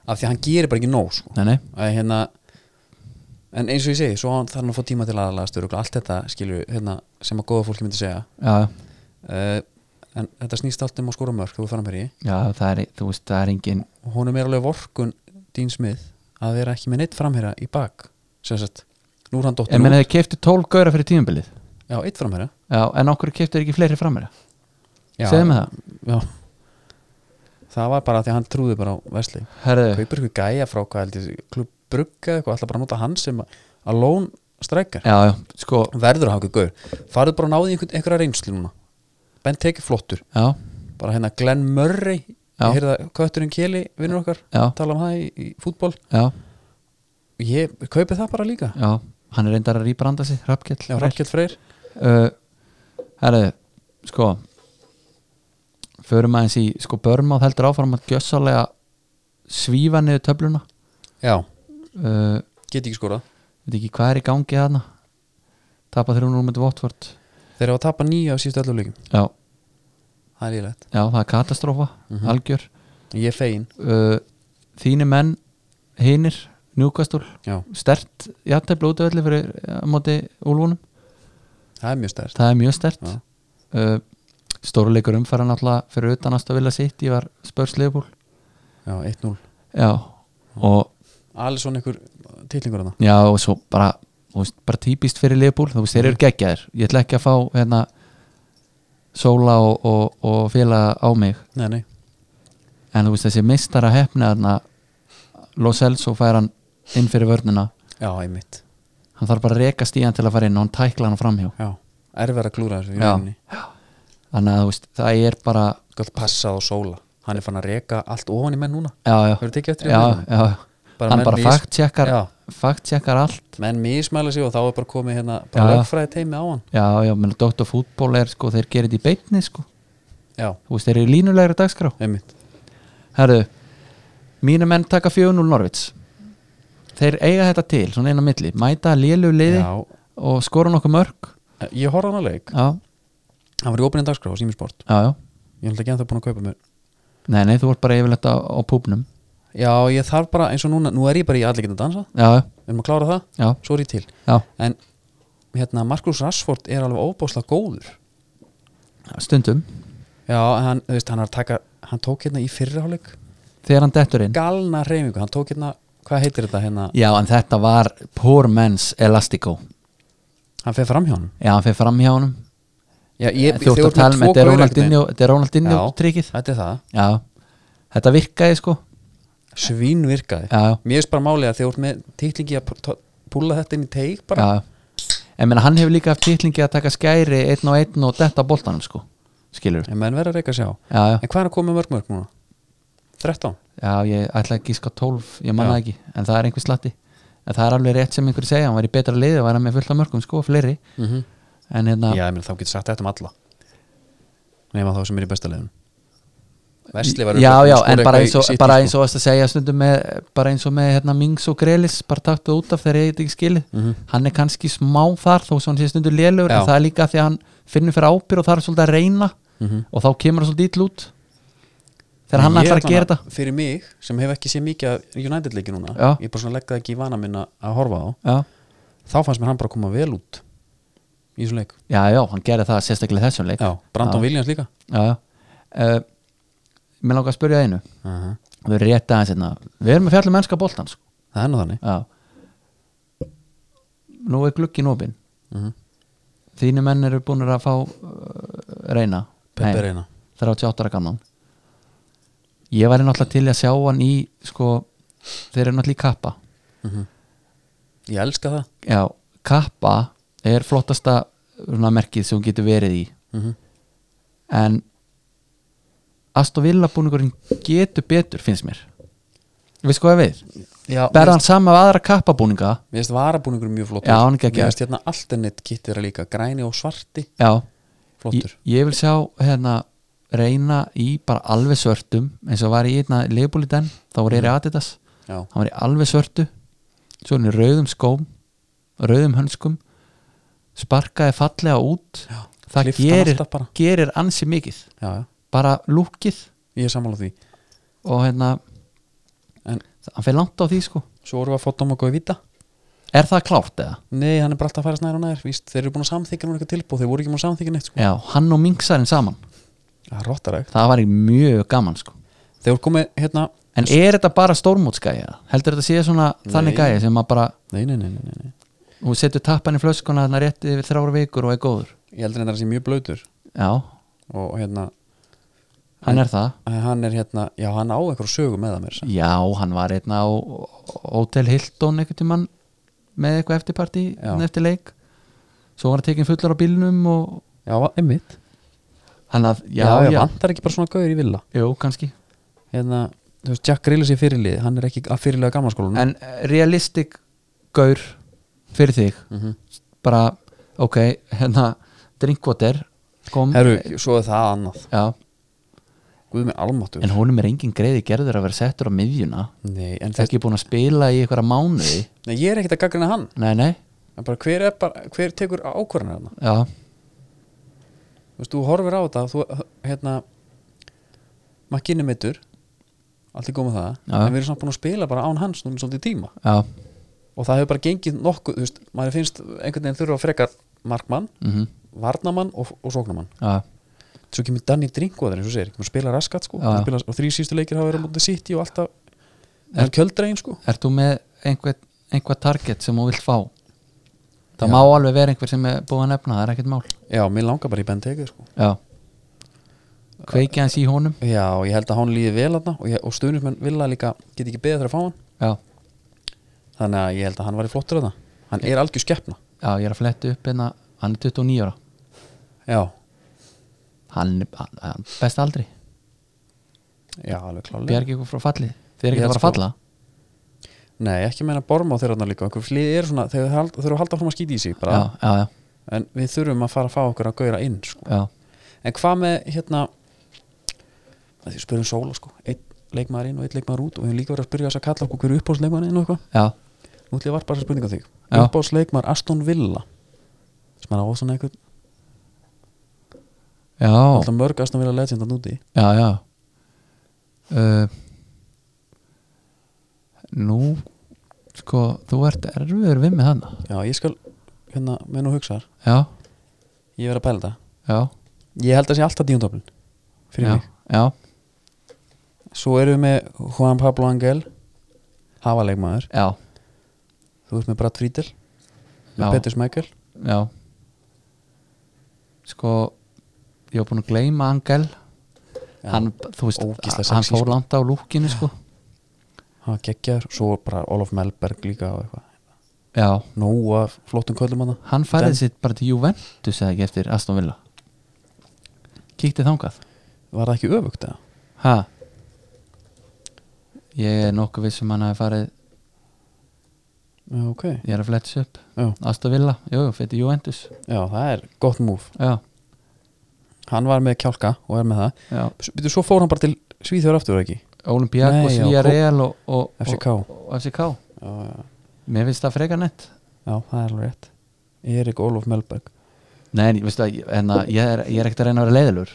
A: af því að hann gerir bara ekki nóg sko.
B: nei, nei,
A: að hérna en eins og ég segi, svo hann- þarf hann að fá tíma til aðalagast og allt þetta skilur hérna, sem að góða fólki myndi segja
B: já,
A: uh, en þetta snýst allt um að skora mörk þú framherji
B: já það er, þú veist, það er engin
A: og honum er alveg vorkun Dín Smith að vera ekki með neitt framherja í bak sem sagt, nú er hann
B: ég
A: dóttur
B: meina
A: út
B: þeir keiftu 12 gaura fyrir tímabilið
A: já, eitt framherja
B: já, en okkur keiftu þeir ekki fleiri framherja
A: já,
B: segðu mig það,
A: já. það var bara því að hann trúði bara á Vesli
B: herðu,
A: kaupur ykkur gæja frá hvað held ég klubb brugga eitthvað, alltaf bara að nota hann sem að lón streikar
B: já, já, sko
A: verður að hafa ykkur gaur farðu bara að náði einhver, einhverja reynslu núna Ben teki flottur,
B: já,
A: bara hérna Glenn Murray
B: Já.
A: ég heyrði að kötturinn Keli vinnur okkar,
B: já,
A: tala um það í, í fútbol
B: já,
A: ég kaupi það bara líka
B: já hann er reyndar að rýbranda sig, Rappkell
A: já, Rakkjöld Freyr
B: uh, herru, sko förum aðeins í sko börnmáð heldur áfram að gjössalega svífa niður töfluna
A: já,
B: uh,
A: get ekki skorað
B: veit ekki hvað er í gangi þarna tapa 300 mútið Votvort
A: þeir eru að tapa nýja á síðustu öllu leikum
B: já,
A: það er ílægt,
B: já, það er katastrófa algjör
A: ég er fegin
B: uh, þínu menn hinir, njúkastúl
A: já,
B: stert, já, það er blótavelli fyrir ja, móti úlfunum,
A: það er mjög stærst
B: það er mjög stert
A: Já.
B: uh, stóruleikur umfæra náttúrulega fyrir utan að stofila sitt, ég var spörsleifból
A: já, 1-0,
B: já og,
A: alveg svona ykkur tilningur hana
B: já, og svo bara, þú veist, bara típist fyrir liðbúl þú veist, þeir
A: Mhm.
B: eru geggjaðir ég ætla ekki að fá hérna, sóla og, og, og félaga á mig
A: nei, nei,
B: en þú veist þessi mistara hefni þarna Lo Celso fær hann inn fyrir vörnina
A: já, einmitt
B: hann þarf bara að reka stíðan til að fara inn og hann tækla hann framhjá
A: já, erfið að klúra þessu í
B: Já.
A: rauninni.
B: þannig að þú veist, það er bara
A: galt passað og sóla hann er fann að reka allt ofan í menn núna
B: já, já,
A: hefur tekið eftir því
B: já,
A: núna?
B: já, hann
A: menn
B: bara
A: mis-
B: faktjekkar
A: Já,
B: faktjekkar allt
A: menn mismæla sig og þá er bara komið hérna
B: Já.
A: bara lögfræði teimi á hann
B: já, já, menn Dr. Fútból er sko, þeir gerir þetta í beitni sko,
A: já,
B: þú veist, þeir eru línulegri dagskrá
A: einmitt,
B: Herðu, mínu menn taka 4-0 Norvits Þeir eiga þetta til, svona inn á milli Mæta lélu liði
A: já,
B: og skora nokkuð mörg
A: ég horfði á hann að leik
B: Já,
A: hann var í opinni dagskrá á Sýmisport
B: já, já
A: ég held ekki að það búin að kaupa mér
B: Nei, nei, þú vart bara yfirleitt á, á púbnum
A: já, ég þarf bara, eins og núna, nú er ég bara í allir getið að dansa
B: Já,
A: við erum að klára það,
B: já,
A: svo er ég til
B: já
A: en hérna, Markus Rashford er alveg óbáslega góður
B: Stundum,
A: já, en hann, þú veist, hann er að taka hann tók hérna í fyrirháleik
B: þegar hann dettur inn
A: galna reyfingu, hann tók hérna hvað heitir þetta hérna,
B: Já, en þetta var poor man's elastico
A: hann fer fram hjá hann
B: Já, hann fyrir fram hjá honum
A: já, ég,
B: Þú ert
A: þau
B: að
A: eru
B: tala
A: með
B: með,
A: tvo
B: þetta er
A: gaura
B: Ronaldinho,
A: einhvern
B: þetta er Ronaldinho
A: veginn.
B: trikið
A: já, þetta er það,
B: Já, þetta virkaði sko
A: svín virkaði
B: Já, já
A: mér veist bara málið að þið voru með titlingi að p- t- púla þetta inn í teik bara
B: Já, en menna hann hefur líka haft titlingi að taka skæri einn og einn og detta boltanum sko, skilur já,
A: en menn verður ekki að sjá
B: já,
A: en hvað er að koma með mörg mörg núna? 13?
B: já, ég ætla ekki sko 12 ég manna
A: Já.
B: ekki, en það er einhver slatti en það er alveg rétt sem einhver segja, hann var í betra liði og var hann með fullt af mörgum sko, fleiri
A: Mm -hmm.
B: en hérna,
A: já, ég meina, þá getur sagt þetta um alla nema þá sem er í besta liðun Vestli var
B: já, já, en bara eins og, bara
A: sko.
B: eins og varst að segja stundum með, bara eins og með hérna, Mings og Grelis, bara taktu út af þegar ég eitthvað ekki skilið,
A: Mhm,
B: hann er kannski smá þar þó sem hann sé stundum lélugur,
A: Mm. Já.
B: en það er líka því að hann finnur fyrir ábyrð og þarf svolítið að reyna og þá kemur hann svolítið ítl út þegar hann
A: mhm. Ég
B: ætlar að
A: allavega-
B: gera þetta
A: Fyrir mig, sem hef ekki séð mikið af United leiki núna
B: Já.
A: Ég er bara svona að leggja það ekki í vana minna að horfa á
B: já.
A: Þá fannst mér hann bara koma vel út Í þessum leik
B: já, já, hann gerir það sérstaklega í þessum leik
A: Já, Brandon
B: Já.
A: Williams líka
B: já, já. Uh, mér langar að spyrja einu
A: uh
B: við erum rétt aðeins hérna við erum að fjalla mennska boltan sko.
A: Það er nú þannig
B: Já. nú er glukkin opinn
A: uh
B: Mhm.
A: -huh.
B: þínu menn eru búin að fá uh, reyna
A: Pepe
B: Nei,
A: reyna
B: 38 ára gamlan ég væri náttúrulega til í að sjá hann í sko, þeir eru náttúrulega í kappa
A: Ég elska það
B: já, kappa er flottasta svona, merkið sem hún getur verið í
A: uh
B: en Aston Villa búningurinn getur betur finnst mér við sko að við,
A: Já,
B: berða hann sama af aðra kappabúninga
A: Mér finnst varabúningur mjög flottur
B: Já, hann er
A: Mér
B: geggjaður.
A: finnst hérna alternate kittir að líka Græni og svarti,
B: já,
A: flottur
B: Ég, ég vil sjá hérna reyna í bara alveg svörtum eins og var í einna leifbúliten þá var ég
A: Mhm.
B: í Adidas,
A: Já,
B: hann var í alveg svörtu svo hann í rauðum skóm rauðum hönskum sparkaði fallega út
A: Já,
B: það
A: klippti hann
B: gerir,
A: alltaf bara.
B: gerir ansi mikið
A: já, já,
B: bara lúkið
A: ég er sammála því
B: og hérna
A: En
B: hann fer langt á því sko
A: svo vorum við að fá Dóma Gói Vita
B: er það klárt eða?
A: Nei, hann er bara alltaf að fara snæður og nær víst, Þeir eru búin að samþykja núna eitthvað tilbúð Þeir voru ekki búin að samþykja neitt sko.
B: Já, hann og mingsarinn saman
A: Það er rottaregt
B: það var í mjög gaman sko
A: Þeir voru komið hérna
B: en er þetta bara stórmótsgæja? heldur þetta sé svona þannig
A: Nei.
B: gæja sem maður bara
A: Nei, nei, nei, nei, nei, nei.
B: Hún setur tappan í flöskuna þannig rétt yfir þrára vikur og er góður
A: Ég heldur þetta að sé mjög blöytur
B: Já,
A: Og hérna,
B: hann er það
A: hann er hérna Já, hann á einhverju sögu með það mér sem.
B: Já, hann var einna á Hotel Hilton einhvern tímann með eitthvað eftirparti hérna
A: Já.
B: eftir leik Svo var hann tekinn fullur á bílnum og
A: Já, einmitt
B: hann að, já,
A: já,
B: já,
A: vantar ekki bara svona gauður í villa
B: Jú, kannski
A: Hérna, þú veist, Jack Grealish er fyrirlið Hann er ekki að fyrirlega gamla skólanum
B: En realistik gaur fyrir þig
A: Mhm.
B: bara, ok, hérna drinkwater kom
A: Herru, svo er það annað
B: Já,
A: Guð með almáttur
B: en honum er engin greiði gerður að vera settur á miðjuna
A: Nei, en
B: Það er
A: þess,
B: ekki búin að spila í einhverja mánuði
A: nei, ég er ekkert að gaggrina hann
B: Nei, nei,
A: En bara hver, er bara, hver tekur ákvarðan hérna
B: já
A: þú veist, þú horfir á þetta þú, hérna maður kynni meittur allt í góð með það,
B: Já.
A: en við erum samt búin að spila bara án hans núna svolítið tíma
B: Já,
A: og það hefur bara gengið nokkuð, þú veist, maður finnst einhvern veginn þurfa að frekar markmann
B: mm
A: varnamann og, og sóknamann
B: já,
A: svo kemur Danny Drinkwater, eins og segir, maður spila raskat sko,
B: Já.
A: hann spila, og þrý sístu leikir hafa verið á mútið City og alltaf, en kjöldregin sko
B: Ert þú með einhver, einhver target sem þú vilt fá?
A: Já.
B: Það má alveg vera einhver sem er búið að nefna, það er ekkert mál
A: já, mér langar bara í Ben Tegur sko
B: Já Kveiki hans í honum
A: já, og ég held að hann líði vel þarna og, ég- og stuðnismenn vilja líka, get ekki beðið þegar að fá hann
B: Já,
A: þannig að ég held að hann var í flottur þarna hann er algjör skeppna,
B: já ég er að fletta upp hérna Hann er 29 ára
A: já,
B: Hann er hann- hann er best aldri
A: já, alveg klálega
B: Bjargi ykkur frá fallið Þeir eru
A: Ég
B: ekki að
A: held
B: fara
A: sko-
B: að falla
A: Nei, ekki meina borma á þeirra líka einhver flið er svona, þeir hald- þurfa að halda fram að skýta í sig bara,
B: Já, já, já,
A: en við þurfum að fara að fá okkur að gauðra inn sko.
B: já
A: en hvað með hérna að því spurðum sóla sko einn leikmaður inn og einn leikmaður út og við höfum líka verið að spyrja þess að kalla okkur hverju uppáhaldsleikmaður inn og eitthvað
B: Já,
A: nú ætlum ég var bara að spurninga þig
B: Já.
A: uppáhaldsleikmaður Aston Villa sem er á svona eitthvað
B: já,
A: alltaf mörg Aston Villa legend að núti
B: já, já. Uh, Nú Sko, þú ert erfiður við með hana
A: já, ég skal hérna með nú hugsar
B: Já,
A: ég verið að pæla þetta
B: já
A: ég held að sé alltaf díundöflin fyrir
B: já,
A: mig
B: já,
A: svo erum við með Juan Pablo Angel hafa leikmaður
B: já,
A: Þú ert með Brad Friedel
B: Já.
A: með Petter Smeichel
B: já Sko Ég var búinn að gleyma Angel hann, Þú veist,
A: ógeðslega
B: hann
A: sexy, sko.
B: fór langt á lúkinu sko.
A: hann var geggjar, svo bara Olof Melberg líka og eitthvað,
B: Já,
A: nóg af flottum köllum hann
B: hann færði
A: Den-
B: sitt bara til Juventus eða ekki eftir Aston Villa Kíkti þangað
A: var það ekki öfugt eða?
B: Ha Ég er nokkuð viss um hann hafi farið
A: Já, ok,
B: Ég er að flettis upp
A: já,
B: Aston Villa, jú, jú, fyrir Juventus
A: já, það er gott múf
B: Já,
A: hann var með kjálka og er með það
B: já
A: S- Býtu, svo fór hann bara til Svíþjóður aftur ekki
B: Olympiakos,
A: Nei, já,
B: Villarreal og, og,
A: FCK.
B: og, og FCK
A: já, já,
B: Mér finnst það frekar nett
A: já, það er alveg rétt Erik Olof Melberg
B: Nei, en, veistu, að, en að, ég, er, ég er ekkert að reyna að vera leiðilur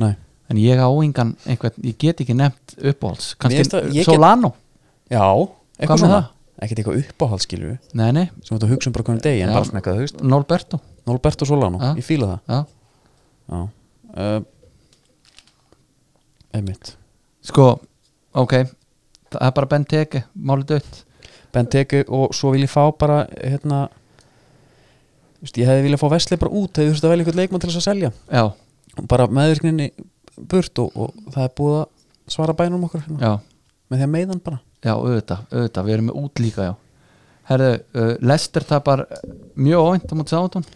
A: Nei,
B: en ég á engan einhvern, ég get ekki nefnt uppáhalds
A: Mér finnst það-
B: kannski
A: ég get-
B: Solano
A: Já, eitthvað
B: Hvað með
A: svona
B: það?
A: Ekkert eitthvað uppáhaldskilju
B: nei, nei,
A: sem þetta hugsa um bara hvernig degi en
B: Já.
A: bara svona eitthvað, þú veist
B: Norberto
A: Norberto Solano,
B: Já.
A: ég fíla það
B: já.
A: Já uh, Einmitt
B: sko, ok það er bara Ben Teke, máli dött
A: Benteke og svo vil ég fá bara hérna þú veist, ég hefði viljað fá Vesli bara út hefði þurft að velja einhvern leikmann til þess að selja
B: já,
A: og bara meðvirkninni burt og, og það er búið að svara bænum okkur hérna,
B: já,
A: með því að meiðan bara
B: já, auðvitað auðvitað, við erum með út líka, já herðu, uh, Lester tapar mjög óvænt á móti sáðun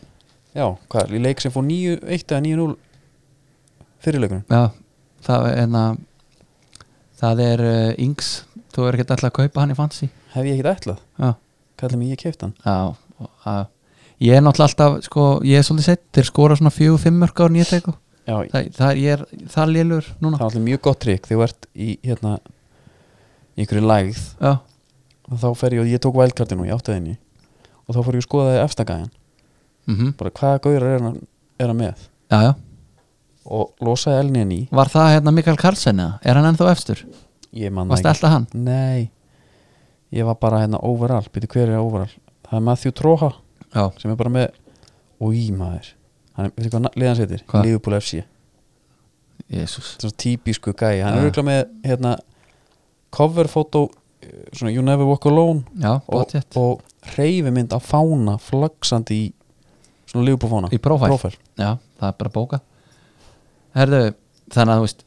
A: Já, hvað, er, í leik sem fór 9-1 eða 9-0 fyrirleikunum
B: já, það er en að það er uh, Ings þú er ekki alltaf að kaupa hann í fantasy
A: hef ég ekkert ætlað,
B: já,
A: kallið mig ég keipt hann
B: já, og- já ég er náttúrulega alltaf, sko, ég er svolítið sett þeir skora svona fjögur, fimmörk á nýjateiku
A: Já, það,
B: það, það, ég er, það er lélur
A: það er
B: núna
A: alltaf mjög gott trikk þegar þú ert í hérna í einhverju lægð
B: já,
A: og þá fer ég og ég tók vældkartinu og ég átti þenni og þá fór ég að skoða það efstagæðan
B: mhm,
A: bara hvaða gaurar er hann, er hann með
B: já, já
A: og losaði elnin í
B: Var það hérna Mikael Karlsson eða? Er hann ennþá efstur?
A: ég man
B: Varst
A: það
B: alltaf hann?
A: ekki nei, ég var bara hérna overall býtu hver er overall, það er Matthew Troha
B: Já
A: sem er bara með új maður, hann er, veitir hvað liðan setir
B: Hvað?
A: Liverpool FC,
B: Jésús
A: þetta er svona típisku gæi hann er
B: Já.
A: auðvitað með hérna cover photo, eh, svona You Never Walk Alone
B: Já,
A: og,
B: bótt hétt
A: og reyfimynd af fána flagsandi í svona Liverpool fána
B: Í prófæl
A: Prófæl.
B: Já, það er bara bóka Herðu, þannig að þú veist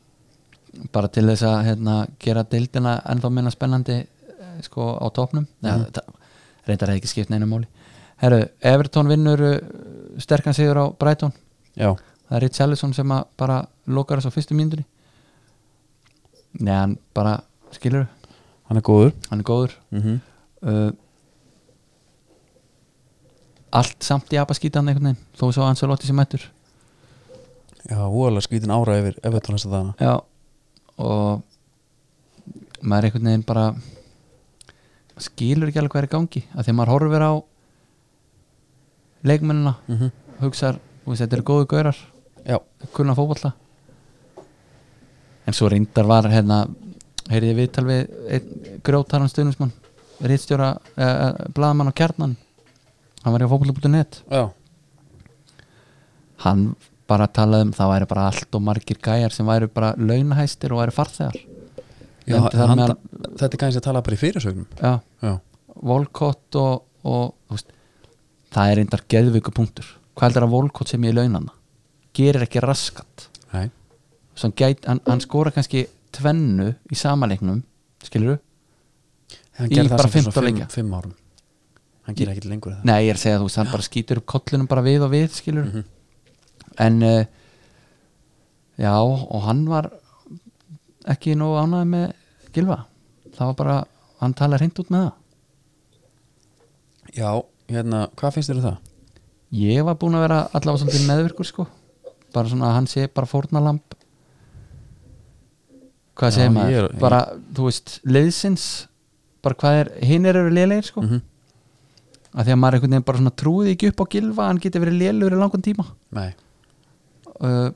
B: bara til þess að hérna, gera dildina ennþá minna spennandi eh, sko á topnum Nei,
A: Mhm.
B: það, reyndar hefði ekki skipt neina máli Herðu, Everton vinnur uh, sterkan sigur á Brighton
A: já,
B: það er Rich Ellison sem að bara lokar þess á fyrstu mínútur Nei, hann bara skilur
A: hann er góður
B: hann er góður
A: mm
B: uh, allt samt í abaskítan einhvern veginn, þó svo Ancelotti sem mættur
A: já, úalega skvítin ára yfir Everton þess að dana
B: já og maður einhvern veginn bara skilur ekki alveg hvað er í gangi að þegar maður horfir á leikmennina
A: mm
B: hugsar, þú veist, þetta eru góðu gaurar
A: já,
B: kunna fótballa en svo reyndar var hérna, heyrði ég viðtal við einn grjótaran stuðnismann rítstjóra, eh, blaðamann á kjarnan hann var í fótballa.net
A: já,
B: hann bara talaði um það væri bara allt og margir gæjar sem væri bara launahæstir og væri farþegar
A: já
B: Nefndi þar
A: hann,
B: meðal-
A: þetta er kannski að tala bara í fyrirsögnum
B: já,
A: já,
B: Volkott og, og þú veist, það er reyndar geðvöku punktur hvað heldur að Volkott sem ég launana gerir ekki raskat
A: nei,
B: Svo hann, gæt, hann, hann skora kannski tvennu í samaleiknum skilur
A: hann
B: Í
A: gerði
B: bara
A: það sem
B: 15
A: fyrir
B: leikja.
A: fimm, fimm árum hann gerir ekkert lengur en það
B: Nei, ég er að segja þú veist, hann bara skýtur upp kollunum bara við og við, skilur
A: Mhm.
B: En uh, Já, og hann var ekki nóg ánæði með Gilva Það var bara, hann talaði hreint út með það
A: já, hérna, hvað finnst þér um það?
B: Ég var búin að vera allavega svolítið meðvirkur sko Bara svona að hann sé bara fórnalamb Hvað
A: Já,
B: segir
A: ég
B: maður?
A: er- ég-
B: Bara, þú veist, liðsins Bara hvað er, hinn eru lélegir sko mm
A: Mhm.
B: að því að maður einhvern veginn bara svona trúði ekki upp á Gilva að hann geti verið lélegur í langan tíma
A: nei,
B: uh,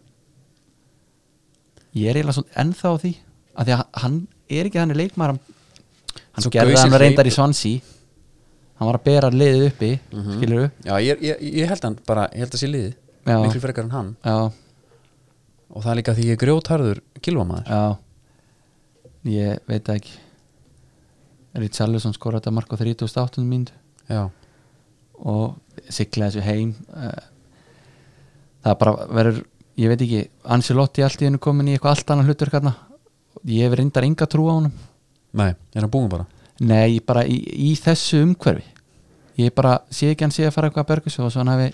B: ég er eiginlega svona ennþá á því að því að hann er ekki þannig leikmaður hann, hann
A: Svo
B: gerði
A: gausinn
B: hann reyndar í
A: hleypur.
B: Svansi hann var að bera liðið uppi mm
A: Mhm.
B: skilur
A: já, ég, ég, ég held hann bara, ég held að sé liði
B: Já.
A: miklu frekar en hann
B: já,
A: og það er líka því ég er grjótharður kilvamaður
B: já ég veit það ekki Richarlison skora þetta mark á 38. mínútu
A: já,
B: og sigla þessu heim eh, það bara verður ég veit ekki, Ancelotti allt í hennu komin í eitthvað allt annað hlutur hérna ég hef reyndar enga trú á honum
A: nei, er hann búin bara
B: Nei, ég bara í, í þessu umhverfi Ég bara sé ekki hann sé að fara eitthvað að bergu svo og svo hann hafi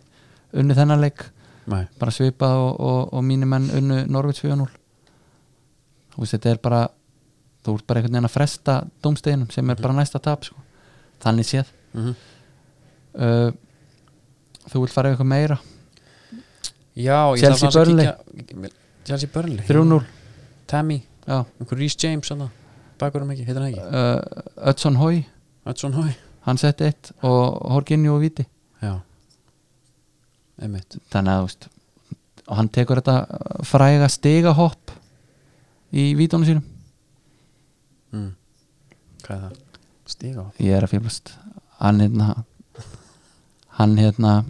B: unnið þennan leik
A: nei,
B: bara svipað og, og, og mínir menn unnu Norvits 4-0 Þú veist, þetta er bara þú ert bara einhvern veginn að fresta dómsteginum sem er bara næsta tap sko. þannig séð
A: mm
B: uh, Þú vilt fara eitthvað meira
A: já, ég ætla
B: Chelsea
A: aðeins að
B: Burnley.
A: kíkja- Chelsea Burnley
B: 3-0
A: Tammy,
B: Já.
A: einhver Rhys James hann bakurum ekki, heitir hann ekki
B: uh, Ödsson Hói,
A: Hudson Hoy
B: hann setti eitt og Horginju og Viti
A: já, einmitt
B: þannig að þú veist og hann tekur þetta uh, fræga stigahopp í vítónu sínum
A: mm. Hvað er það? Stíga á
B: ég er að fýblast hann hérna hann hérna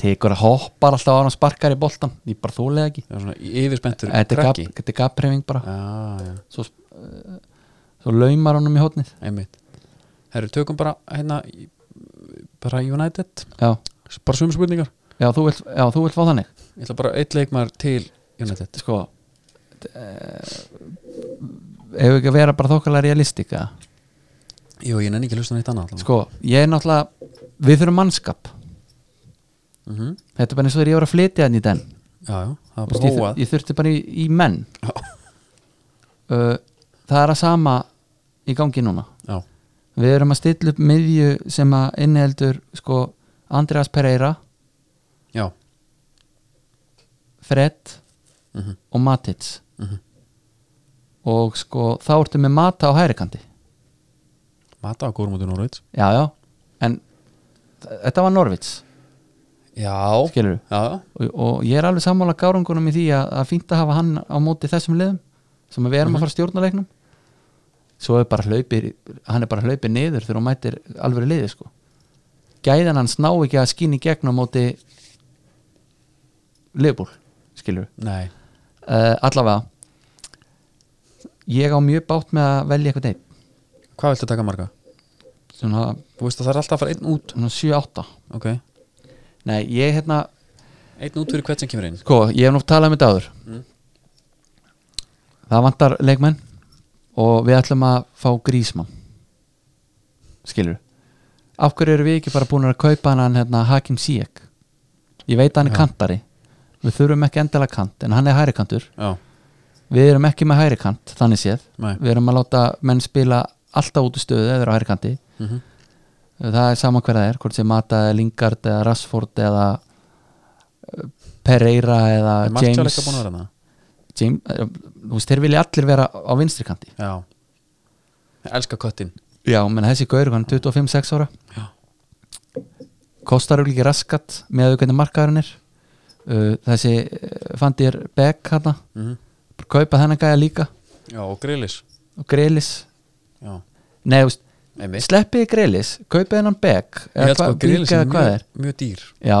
B: tekur að hoppar alltaf á hann og sparkar í boltan ég bara þólega ekki
A: Það er svona yfirspentur
B: þetta er gap-
A: krakki
B: þetta er gapræfing bara
A: Já, já,
B: svo, uh, svo laumar honum í hótnið
A: einmitt Herru, tökum bara hérna í- bara United,
B: já,
A: bara sömu spurningar
B: já, þú vilt, já, þú vilt fá þannig
A: Ég ætla bara eitt leikmar til United
B: sko ef eh, ekki að vera bara þokkalega realistika
A: Jú, ég nenni ekki að hlusta neitt annað allavega.
B: sko, ég er náttúrulega við þurfum mannskap
A: Mhm.
B: þetta er bara eins og þegar ég var að flytja hann í den
A: Já, já, það var bara
B: Þú veist, ég, þur-
A: hóað
B: ég þurfti bara í, í menn
A: Já.
B: uh, það er að sama í gangi núna
A: Já,
B: við erum að stilla upp miðju sem að inniheldur sko Andreas Pereira,
A: já
B: Fred
A: Mhm.
B: og Matic
A: Mhm.
B: og sko þá ertu með Mata á hægrikandi
A: Mata á Górmúti Norveits
B: já já, en þ- þetta var Norvits
A: Já,
B: skilur
A: já, já
B: og, og ég er alveg sammála gárungunum í því að, að fínt að hafa hann á móti þessum liðum sem að við erum að fara að stjórna leiknum svo er bara hlaupir hann er bara hlaupir niður þegar hún mætir alveg liði sko gæðan hans ná ekki að skýni gegnum móti liðbúl skilur
A: Nei,
B: uh, allavega ég á mjög bátt með að velja eitthvað neitt
A: hvað viltu taka marga?
B: svona,
A: Þú veist að það er alltaf að fara einn út
B: svona 7-8
A: Ok,
B: nei ég hérna
A: einn út fyrir hvert sem kemur inn
B: Sko, ég hef nú talað um þetta áður
A: Mm.
B: Það vantar leikmenn og við ætlum að fá grísmann Skilur Af hverju eru við ekki bara búin að kaupa hann hérna, Hakim Sijek Ég veit að hann er
A: Já.
B: kantari Við þurfum ekki endilega kant en hann er hærikantur
A: Já,
B: Við erum ekki með hærikant, þannig séð
A: nei
B: Við erum að láta menn spila alltaf út í stöðu eða eru á hærikanti
A: mm
B: það er saman hver það er, hvort sem Mata eða Lingard eða Rashford eða eh, Pereira eða
A: Er Martial
B: James,
A: ekki búin að vera það?
B: James eh, þú veist, þeir vilja allir vera á vinstri kanti
A: Já Ég elska köttin
B: já, menn þessi gaur, hann er 25-6 ára
A: Já.
B: kostar öll ekki raskat með að auðvitað markaðurinn er uh, þessi eh, fandi er Beck hana,
A: mm
B: kaupa þennan gæja líka
A: Já, og grillis
B: og Grelis
A: Já,
B: nei, þú veist,
A: einmitt
B: sleppiði Grelis kaupa hennan Beck
A: Ég held sko
B: hvað-
A: að grillis
B: Vík
A: er
B: eða hvað
A: mjög, mjög dýr
B: já,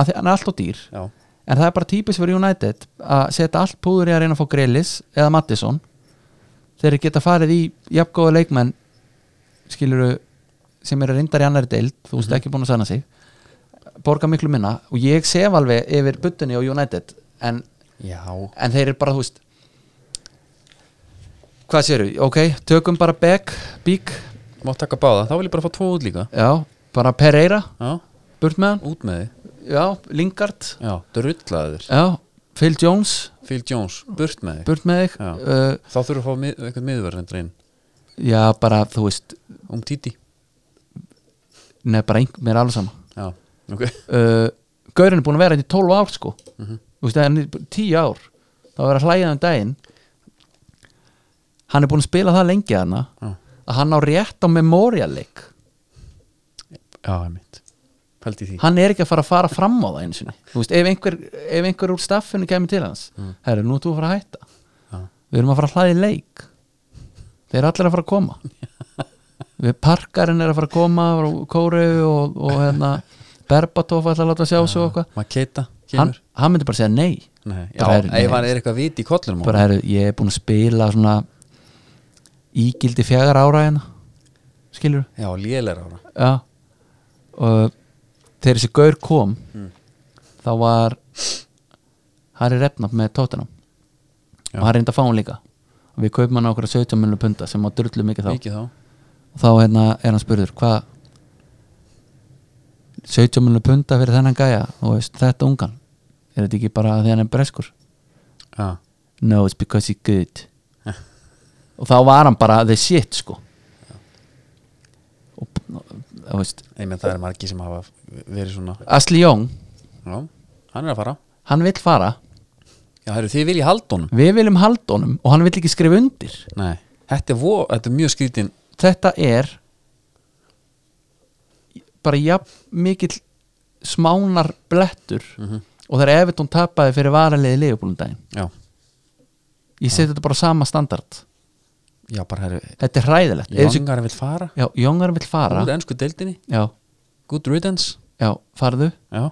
B: af því hann er alltaf dýr
A: Já,
B: en það er bara típis fyrir United að setja allt púður í að reyna að fá Grelis eða Mattisson þegar þeir geta farið í jafngóða leikmenn skiluru sem eru reyndar í annari deild þú veist ekki búin að sanna sig borga miklu minna og ég sef alveg yfir buttunni á United en,
A: já
B: en þeir eru bara þú veist hvað séru, ok, tökum bara Beck, Bík
A: Má taka báða, þá vil ég bara fá tvo út líka
B: já, bara Pereira,
A: Já,
B: burt með hann
A: út með þið
B: já, Lingard,
A: Já, drullaður
B: já, Phil Jones
A: Phil Jones, burt með þig
B: burt með þig
A: Já.
B: uh,
A: Þá þurfum við að fá mið, eitthvað miðverðendur inn
B: Já, bara, þú veist
A: Um títi
B: Nei, bara einhver, mér er alveg sama
A: Já, ok
B: uh, Gaurin er búin að vera hérna í 12 ár, sko Þú veist, hann er bara 10 ár Það var að hlæja um daginn Hann er búin að spila það lengi þarna
A: Já,
B: að hann á rétt á memorial-leik
A: já einmitt Pældi í því
B: Hann er ekki að fara að fara fram á það einu sinni Þú veist, ef einhver, ef einhver úr staffinu kemur til hans mm. Herru, nú ert þú að fara að hætta
A: Já,
B: Við erum að fara að hlæði leik Þeir eru allir að fara að koma Við parkarinn er að fara að koma og Kóru og, og hérna Berbatov ætla að láta sjá svo og eitthvað
A: Maketa
B: hann,
A: kemur
B: hann myndi bara segja nei
A: Nei, já,
B: bara heyrðu,
A: ef
B: nei.
A: hann er eitthvað vit í kollunum á honum.
B: bara heru, ég er búin að spila svona ígildi fjagar ára hérna skilur
A: Já, lélega ára
B: já og þegar þessi gaur kom þá var Harry Repnap með tóttunum
A: Já.
B: og hann reyndi að fá hún líka og við kaupum hann á okkur 17 miljonu punta sem á drullu mikið þá
A: Mikið þá
B: og þá hérna er hann spurður hvað 17 miljonu punta fyrir þennan gæja og veist, þetta ungan er þetta ekki bara því hann er breskur
A: Já,
B: no it's because he's good og þá var hann bara the shit sko og þú veist
A: einmitt það er margi sem hafa verið svona
B: Asli Young,
A: Já, hann er að fara
B: hann vill fara
A: Já, herru, þið viljið halda honum
B: við viljum halda honum og hann vill ekki skrifa undir
A: Nei, þetta er, vo, þetta er mjög skrítin
B: þetta er bara jafn mikill smánar
A: Mhm.
B: blettur og það er eftir hún tapaði fyrir varaliði liðbúlum daginn
A: Já,
B: um ég seti þetta bara á sama standard
A: já bara herru,
B: þetta er hræðilegt Ef þessi-
A: Jóngar vill fara
B: já, Jóngar vill fara
A: úr ennsku deildinni,
B: já,
A: good riddance
B: já, farðu
A: já,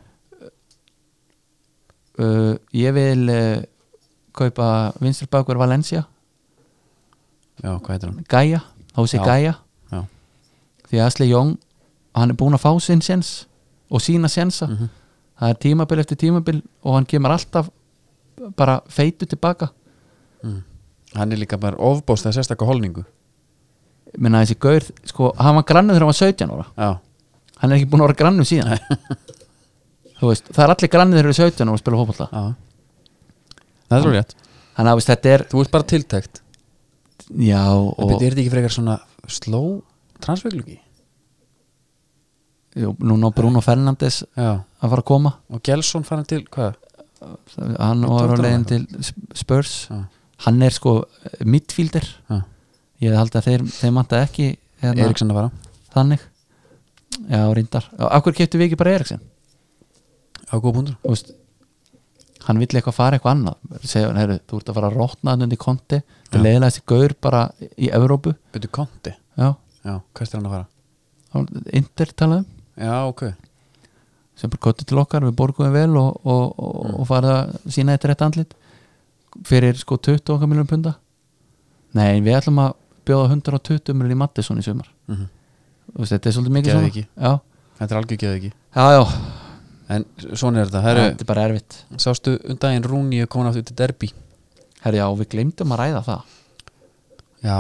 B: uh, ég vil uh, kaupa vinstri bakur Valencia
A: já, hvað heitir hann
B: Gaia, Hósi
A: Já.
B: Gaia
A: já,
B: því að Asli Jón, hann er búin að fá sinn séns og sína sénsa
A: Mhm.
B: það er tímabil eftir tímabil og hann kemur alltaf bara feitu tilbaka
A: mm. hann er líka bara ofbóst að sérstakka holningu
B: menna þessi gaur, sko, hann var grannu þegar hann var 17 ára
A: já,
B: hann er ekki búin að vera grannu síðan þú veist, það er allir grannu þegar þeir eru 17 ára að spila fótbolta
A: já það er svo rétt,
B: þannig að þú veist, þetta er,
A: þú ert bara tiltækt
B: já
A: og
B: og,
A: er þetta ekki frekar svona slow transferglugi
B: jú, núna á Bruno Fernandes
A: já,
B: að fara að koma
A: og Gelsson farin til hvað, Í
B: hann var á
A: Tottenham
B: leiðin til
A: eitthvað.
B: Spurs
A: já,
B: hann er sko eh, midfielder
A: já
B: ég held að þeir, þeir manta ekki hérna,
A: Eriksson að fara
B: þannig já, reyndar, akkur keftu við ekki bara Eriksson
A: á góð búndur
B: Þú veist, hann vill eitthvað fara eitthvað annað segja, hann, heyrðu, þú ert að fara að rotna hann undir konti
A: Já.
B: þetta er leiðilega þessi gaur bara í Evrópu
A: Betur Konti,
B: já,
A: já, hvert er hann að fara
B: Inter talaðum
A: já, ok,
B: sem bara kottu til okkar, við borguðum vel og, og, og,
A: Mm.
B: og farið að sína þetta rétt andlit fyrir sko 20 okkar miljón punda nei, við ætlum að bjóða 120 miljón í Mattisson í sumar
A: mm
B: Þú veist, þetta er svolítið mikið
A: Geðveiki.
B: svona já,
A: þetta er algjör geðið ekki
B: já, já,
A: en svona er þetta, herru,
B: þetta er bara erfitt
A: sástu undaginn Rúni er komin aftur til derbi
B: herri, já, við glemdum að ræða það
A: já,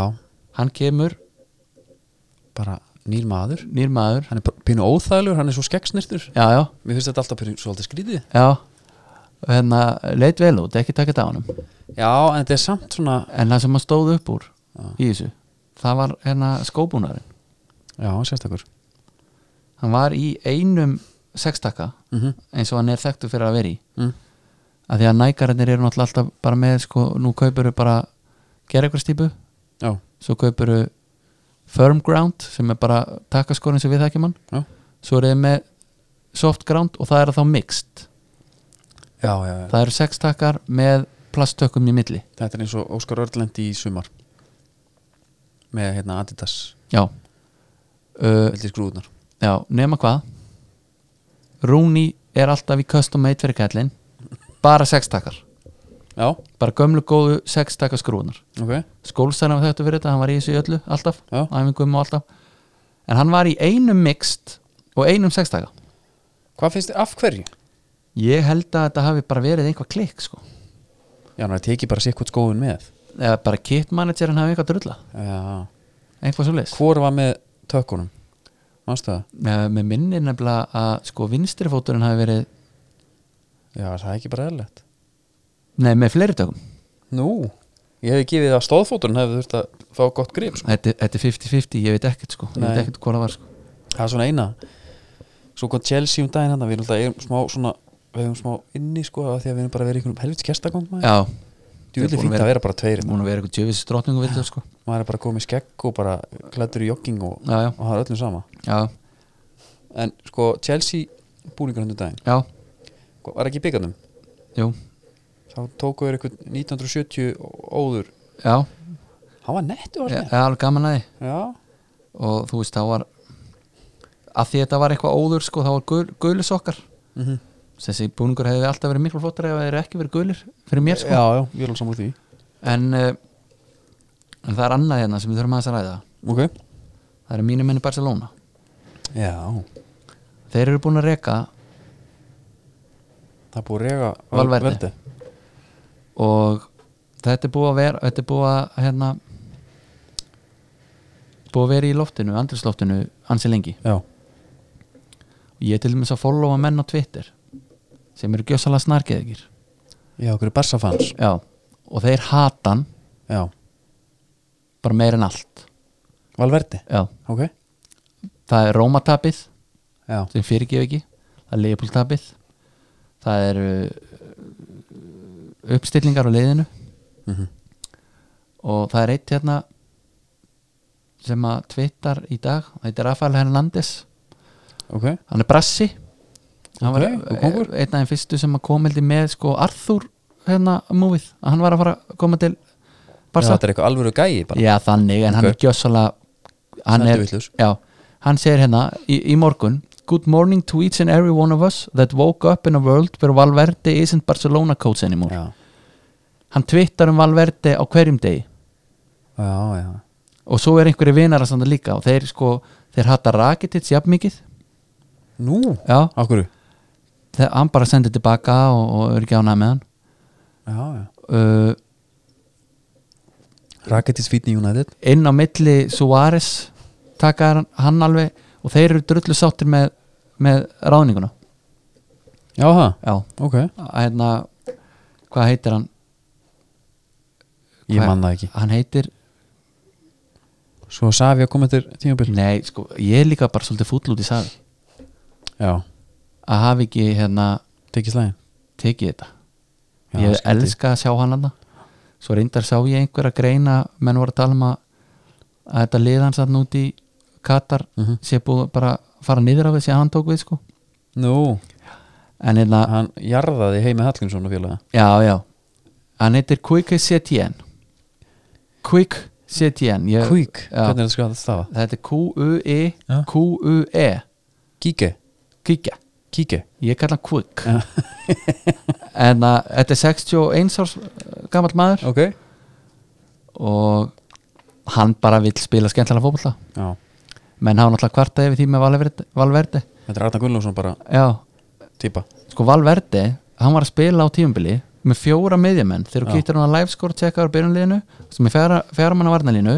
B: hann kemur,
A: bara nýr maður
B: nýr maður
A: hann er bara pínu óþægilegur, hann er svo skeggsnirtur
B: já, já,
A: mér finnst þetta alltaf pínu svolítið skrítið
B: já og hérna, leit vel út, ekki taka þetta á honum
A: já, en þetta er samt svona
B: en það sem hann stóð upp úr
A: Já.
B: í þessu, það var hérna skóbúnarinn
A: já, sérstakur
B: hann var í einum sextakka
A: mm
B: eins og hann er þekktu fyrir að vera í
A: mm.
B: að því að nækararnir eru náttúrulega alltaf bara með sko, nú kaupuru bara gera eitthvað stípu,
A: já,
B: svo kaupuru firm ground sem er bara takkaskorinn sem við þekkjum hann
A: já,
B: svo eru þið með soft ground og það eru þá mixed
A: já, já, já.
B: það eru sex takkar með plasttökum í milli
A: þetta er eins og Óskar Örlend í sumar með hérna Adidas
B: já, uh,
A: veldi skrúðunar
B: já nema hvað Rúni er alltaf í custom made fyrir kællin bara sex takkar
A: já,
B: bara gömlu góðu sex takkar skrúnar
A: ok,
B: skólstarinn var þetta fyrir þetta, hann var í þessu í öllu alltaf,
A: Já.
B: æfingum og alltaf en hann var í einum mixed og einum sex taka
A: hvað finnst þið, af hverju?
B: ég held að þetta hafi bara verið einhvað klikk sko.
A: já, hann tekið bara sér hvort skóðun með
B: eða bara kit managerin hafi eitthvað drulla
A: já,
B: einhvað svo leis
A: hvor var með tökkunum mannstu það?
B: Eh, með minni nefnilega að sko vinstrifóturinn hafi verið
A: já, er það ekki bara eðlilegt
B: nei með fleiri tökum
A: nú, ég hefði gefið að stóðfóturinn hefði þurft að fá gott grip sko.
B: þetta þetta er 50-50, ég veit ekkert sko ég veit
A: Nei.
B: ekkert hvað það var sko
A: það er svona eina svo kom Chelsea um daginn hann við erum alltaf eigum smá svona við erum smá inni sko af því að við erum bara verið einhvern helvits gestagong maður
B: já,
A: þú
B: Við
A: vilja
B: erum
A: fínt
B: búin
A: að
B: að
A: vera bara tveir
B: múin að vera eitthvað djöfis strotningu við þetta sko
A: maður er bara komið skegg og bara klættur í jogging og,
B: já, já,
A: og það er öllum sama
B: já,
A: en sko Chelsea búningur hann um daginn
B: já,
A: sko, var ekki í byggandum
B: jú,
A: þá tóku þér eitthvað 1970 óður
B: já
A: hann var nettu var
B: ég
A: það
B: er alveg gaman að því
A: já,
B: og þú veist, þá var að því þetta var eitthvað óður sko, þá var gul, gulis okkar
A: mm -hmm.
B: þessi búningur hefði alltaf verið miklu flottar ef það er ekki verið gulir fyrir mér sko
A: já, já, við erum saman úr því
B: en, eh, en það er annað hérna sem við þurfum aðeins að ræða
A: ok,
B: það er mínum minni Barcelona
A: já,
B: þeir eru búin að reka
A: það er búið að rega
B: Valverde. og þetta er búið að vera þetta er búið að hérna búið að vera í loftinu, andrisloftinu ansi lengi
A: já,
B: og ég er til dæmis að followa menn á Twitter sem eru gjössalega snarkeðegir
A: já, okkur er Barca fans
B: já, og þeir hata hann
A: já,
B: bara meir en allt
A: Valverdi,
B: já,
A: ok
B: það er Rómatapið
A: já,
B: sem fyrirgef ekki það er Leopoldtapið það eru uh, uppstillingar á leiðinu
A: mm
B: og það er eitt hérna sem að tvittar í dag þetta er Rafael Hernandez
A: ok
B: hann er brassi hann var e-
A: Ok, og kóngur.
B: einn af þeim fyrstu sem að kom heldur með sko Arthur hérna múið að hann var að fara að koma til
A: Ef
B: farsa
A: þetta er eitthvað alvöru gæi bara
B: Já, þannig, en hann
A: Ok.
B: er gjössalega hann
A: Sæmdur
B: er,
A: vitlaus.
B: já, hann segir hérna í, í morgun Good morning to each and every one of us that woke up in a world where Valverde isn't Barcelona coach anymore
A: Já,
B: Hann twittar um Valverde á hverjum degi
A: já, já.
B: og svo er einhverju vinar að standa líka og þeir sko, þeir hattar Rakitic jafn mikið
A: Nú,
B: já,
A: á hverju?
B: þeir, hann bara sendir tilbaka og, og er ekki ánægð með hann
A: Já, já
B: uh,
A: Rakitis fítni United
B: inn á milli Suárez taka hann alveg og þeir eru drullu sáttir með, með ráðninguna
A: Já, það,
B: já,
A: ok
B: að hérna hvað heitir hann?
A: Ég
B: Hvað-
A: man það ekki
B: Hann heitir,
A: Svo Savi að koma eftir tímabil
B: nei sko ég er líka bara svolítið fúll út í safi
A: Já,
B: að hafi ekki hérna
A: tekið slæðin
B: tekið þetta
A: Já,
B: ég
A: skrítið.
B: elska að sjá hann hann svo reyndar sá ég einhver að greina menn voru að tala um að, að þetta liðans að núti í Katar
A: Mhm.
B: sé búið bara að fara niður af þessi að hann tók við sko
A: Nú,
B: en hérna,
A: hann jarðaði heimi Hallgrímsson og félaga
B: já já hann heitir Quick CTN Quick CTN ég,
A: Quick,
B: já.
A: hvernig er það skjáð að stafa?
B: þetta er E, Q-U-I
A: Já.
B: Q-U-E
A: Kíke,
B: E. kíkja,
A: kíke
B: ég kalla hann Quick en að þetta er 61 árs gammal maður
A: Ok
B: og hann bara vill spila skemmtilega fótbolta
A: Já,
B: menn hafa náttúrulega kvartað yfir því með Valverdi, Valverdi.
A: þetta er Arna Gunnlófsson bara
B: Já,
A: típa
B: sko Valverdi hann var að spila á tíumbili með fjóra miðjumenn þegar þú getur hann að live score checka á byrjunliðinu, sem er fjara, fjara manna varnalínu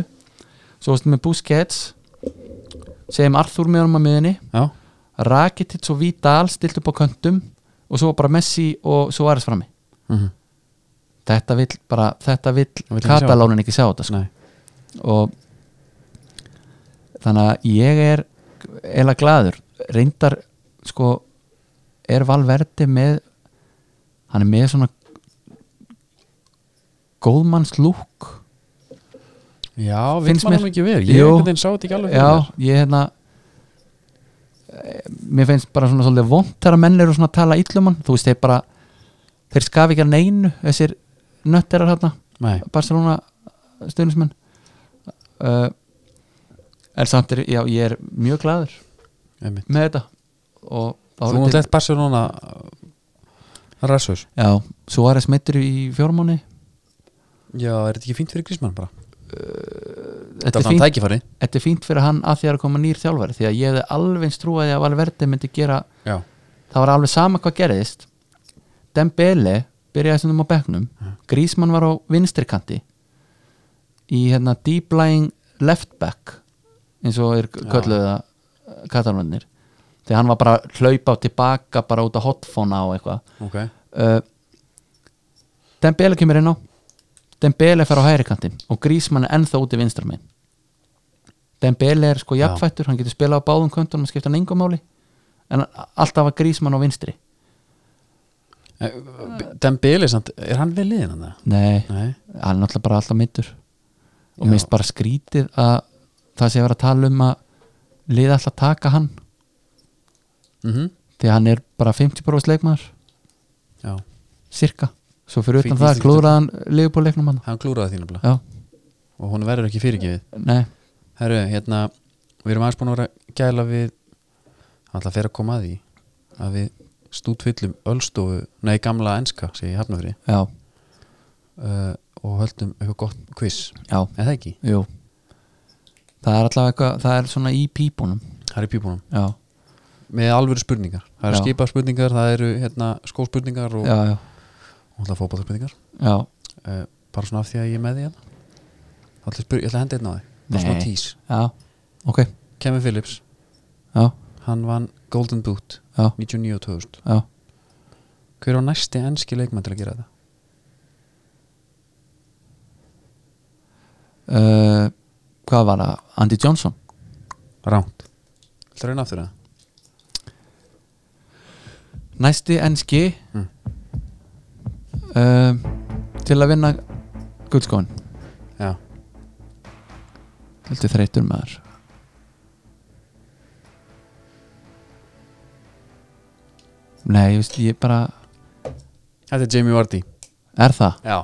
B: svo varstu með Busquets segjum Arthur með honum á miðinni
A: Já,
B: Rakitic og Vidal stilt upp á köntum og svo bara Messi og Suárez frammi
A: mm
B: þetta vill bara, þetta
A: Hann vill
B: vill
A: ekki sjá
B: Katalónin ekki sjá þetta sko.
A: nei
B: og þannig að ég er eila glaður, reyndar sko, er Valverdi með hann er með svona góðmanns lúk
A: Já,
B: Finnst
A: finnst
B: mér-
A: mér ekki verið Ég
B: Jú.
A: einhvern veginn sá þetta ekki alveg fyrir
B: já, ég hérna eh, mér finnst bara svona svolítið vont þegar menn eru svona að tala illumann þú veist, þeir bara þeir skafi ekki að neinu, þessir nötterar hérna
A: mér. Nei,
B: Barcelona stuðnismenn uh, en samt er já, ég er mjög gladur
A: einmitt
B: með þetta og þá
A: Þú mátt lett Barcelona Rassus
B: já, svo var það smittur í fjórmáni
A: Já, er þetta ekki fínt fyrir Grísmann bara?
B: þetta,
A: Þetta
B: er
A: er svona
B: fínt-
A: tækifæri
B: þetta er fínt fyrir hann að því að það er að koma nýr þjálfari því að ég hefði alveg eins trúaði að Valverdi myndi gera
A: Já,
B: það var alveg sama hvað gerðist Dembele byrjaði sem þeim á bekknum Grísmann var á vinstrikandi í hérna deep lying left back eins og er kölluðu það katalónir þegar hann var bara að hlaupa á tilbaka bara út á hotfona og eitthvað
A: ok
B: uh, Dembele kemur inn á Dembele fer á hægrikantin og Grísmann er ennþá út í vinstramin Dembele er sko
A: Já.
B: jafnfættur hann getur spilað á báðum köntunum og skipta hann engum máli en alltaf var Grísmann á vinstri
A: Dembele, Eh, samt, er hann við liðin hann það?
B: Nei,
A: Nei,
B: hann er náttúrulega bara alltaf mittur og
A: Já.
B: mér finnst bara skrítið að það sé að vera að tala um að liða alltaf taka hann
A: mhm
B: því að hann er bara 50% leikmaður
A: Já,
B: cirka, svo fyrir
A: Fínt
B: utan það
A: íslenskt.
B: klúðraðan liðbúrleiknum hann
A: hann klúraði þínu bara
B: Já,
A: og hún verður ekki fyrirgefið
B: nei,
A: Herru, hérna, við erum aðeins búin að vera að gæla við hann ætla að fyrir að koma að því að við stútfyllum ölstofu nei, gamla enska, segi ég hafnafri
B: já,
A: uh, og höldum eitthvað gott quiz
B: já
A: eða það ekki,
B: Jú Það er allavega eitthvað, það er svona í pípunum
A: það er í pípunum
B: Já,
A: með alvöru spurningar, það eru
B: Já.
A: skipa spurningar það eru hérna, skóspurningar og
B: já, já,
A: hún ætla að fópa það spurningar
B: já
A: uh, bara svona af því að ég er með því hérna Þá ætla ég, spyr, ég ætla að henda einn á því, bara
B: Nei.
A: svona tís
B: Já, ok,
A: Kevin Phillips,
B: já,
A: hann vann Golden Boot
B: já,
A: 99 og 2000
B: já
A: Hver var næsti enski leikmann til að gera þetta?
B: uh, Hvað var það? Andy Johnson
A: Ránt Þetta reyna aftur það?
B: Næsti enski
A: Mm.
B: uh, Til að vinna guldskóin
A: Já
B: Viltu þreytur maður Nei, ég veist, ég bara
A: Þetta er Jamie Vardy
B: Er það?
A: Já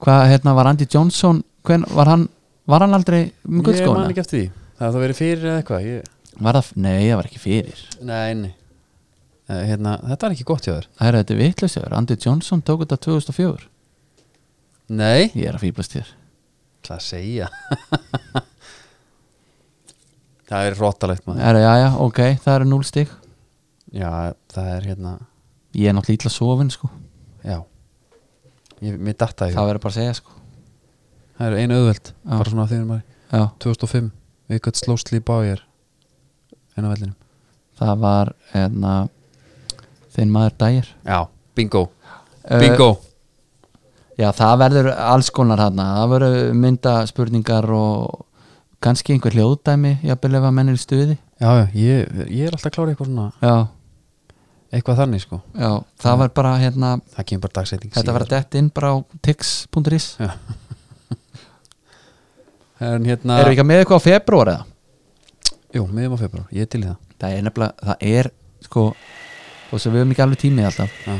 B: hvað hérna var Andy Johnson hven, var, hann, var hann aldrei með
A: Ég man
B: guldskóna?
A: ekki eftir því Það hafði þá verið fyrir eða eitthvað ég...
B: Var það, nei, það var ekki fyrir
A: Nei, nei Eh, hérna, Þetta var ekki gott hjá þér
B: Það er þetta vitlausjöður, Andy Johnson tók þetta 2004
A: Nei
B: Ég er að fýblast þér
A: Það að segja Það er rótalegt maður
B: er, já, já, ok, það eru 0 stig
A: Já, það er hérna
B: Ég er náttúrulega illa sofin sko
A: Já ég, Mér datta ég
B: Það
A: Það,
B: verður bara að segja sko
A: er einu auðveld
B: Já.
A: Bara svona af því að maður
B: já,
A: 2005 Við gott slósli bájar En á vellinum
B: Það var hérna, þinn maður dægir
A: Já, bingo Eh, Bingo
B: Já, það verður alls konar þarna Það verður myndaspurningar og kannski einhver hljóðdæmi jafnvel ef að menn er í stuði
A: Já, já, ég, ég er alltaf klárið eitthvað svona
B: Já,
A: Eitthvað þannig sko
B: já það var bara hérna
A: Það kemur bara dagsetting
B: Þetta var að dett inn bara á tix.is
A: þetta En hérna
B: Erum við ekki að með eitthvað á februar eða?
A: Jú, miðum á februar, ég er til í það
B: Það er nefnilega, það er sko og svo við höfum ekki alveg tímið alltaf
A: Já.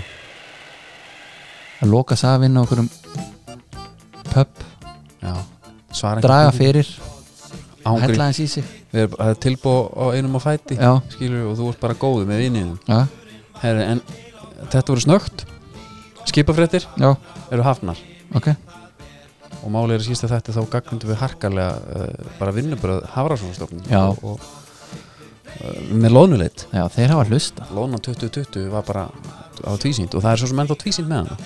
B: að loka safinn á okkurum pub,
A: Já, svara
B: draga fyrir
A: Ángri
B: hella hans í sig
A: Við erum bara tilbúið á einum á fæti
B: Já.
A: Skilur og þú ert bara góðu með vinniðum
B: Já,
A: Herri, en þetta voru snögt Skipafréttir
B: já,
A: eru hafnar
B: ok
A: Og málið er að sísta þetta þá gagnundum við harkalega uh, bara vinnubröð Hafrásonastofnum
B: Já.
A: og, og, uh, Með loðnuleit
B: Já, þeir hafa hlusta
A: Lóna 2020 var bara á tvísýnd og það er svo sem ennþá tvísýnd með hann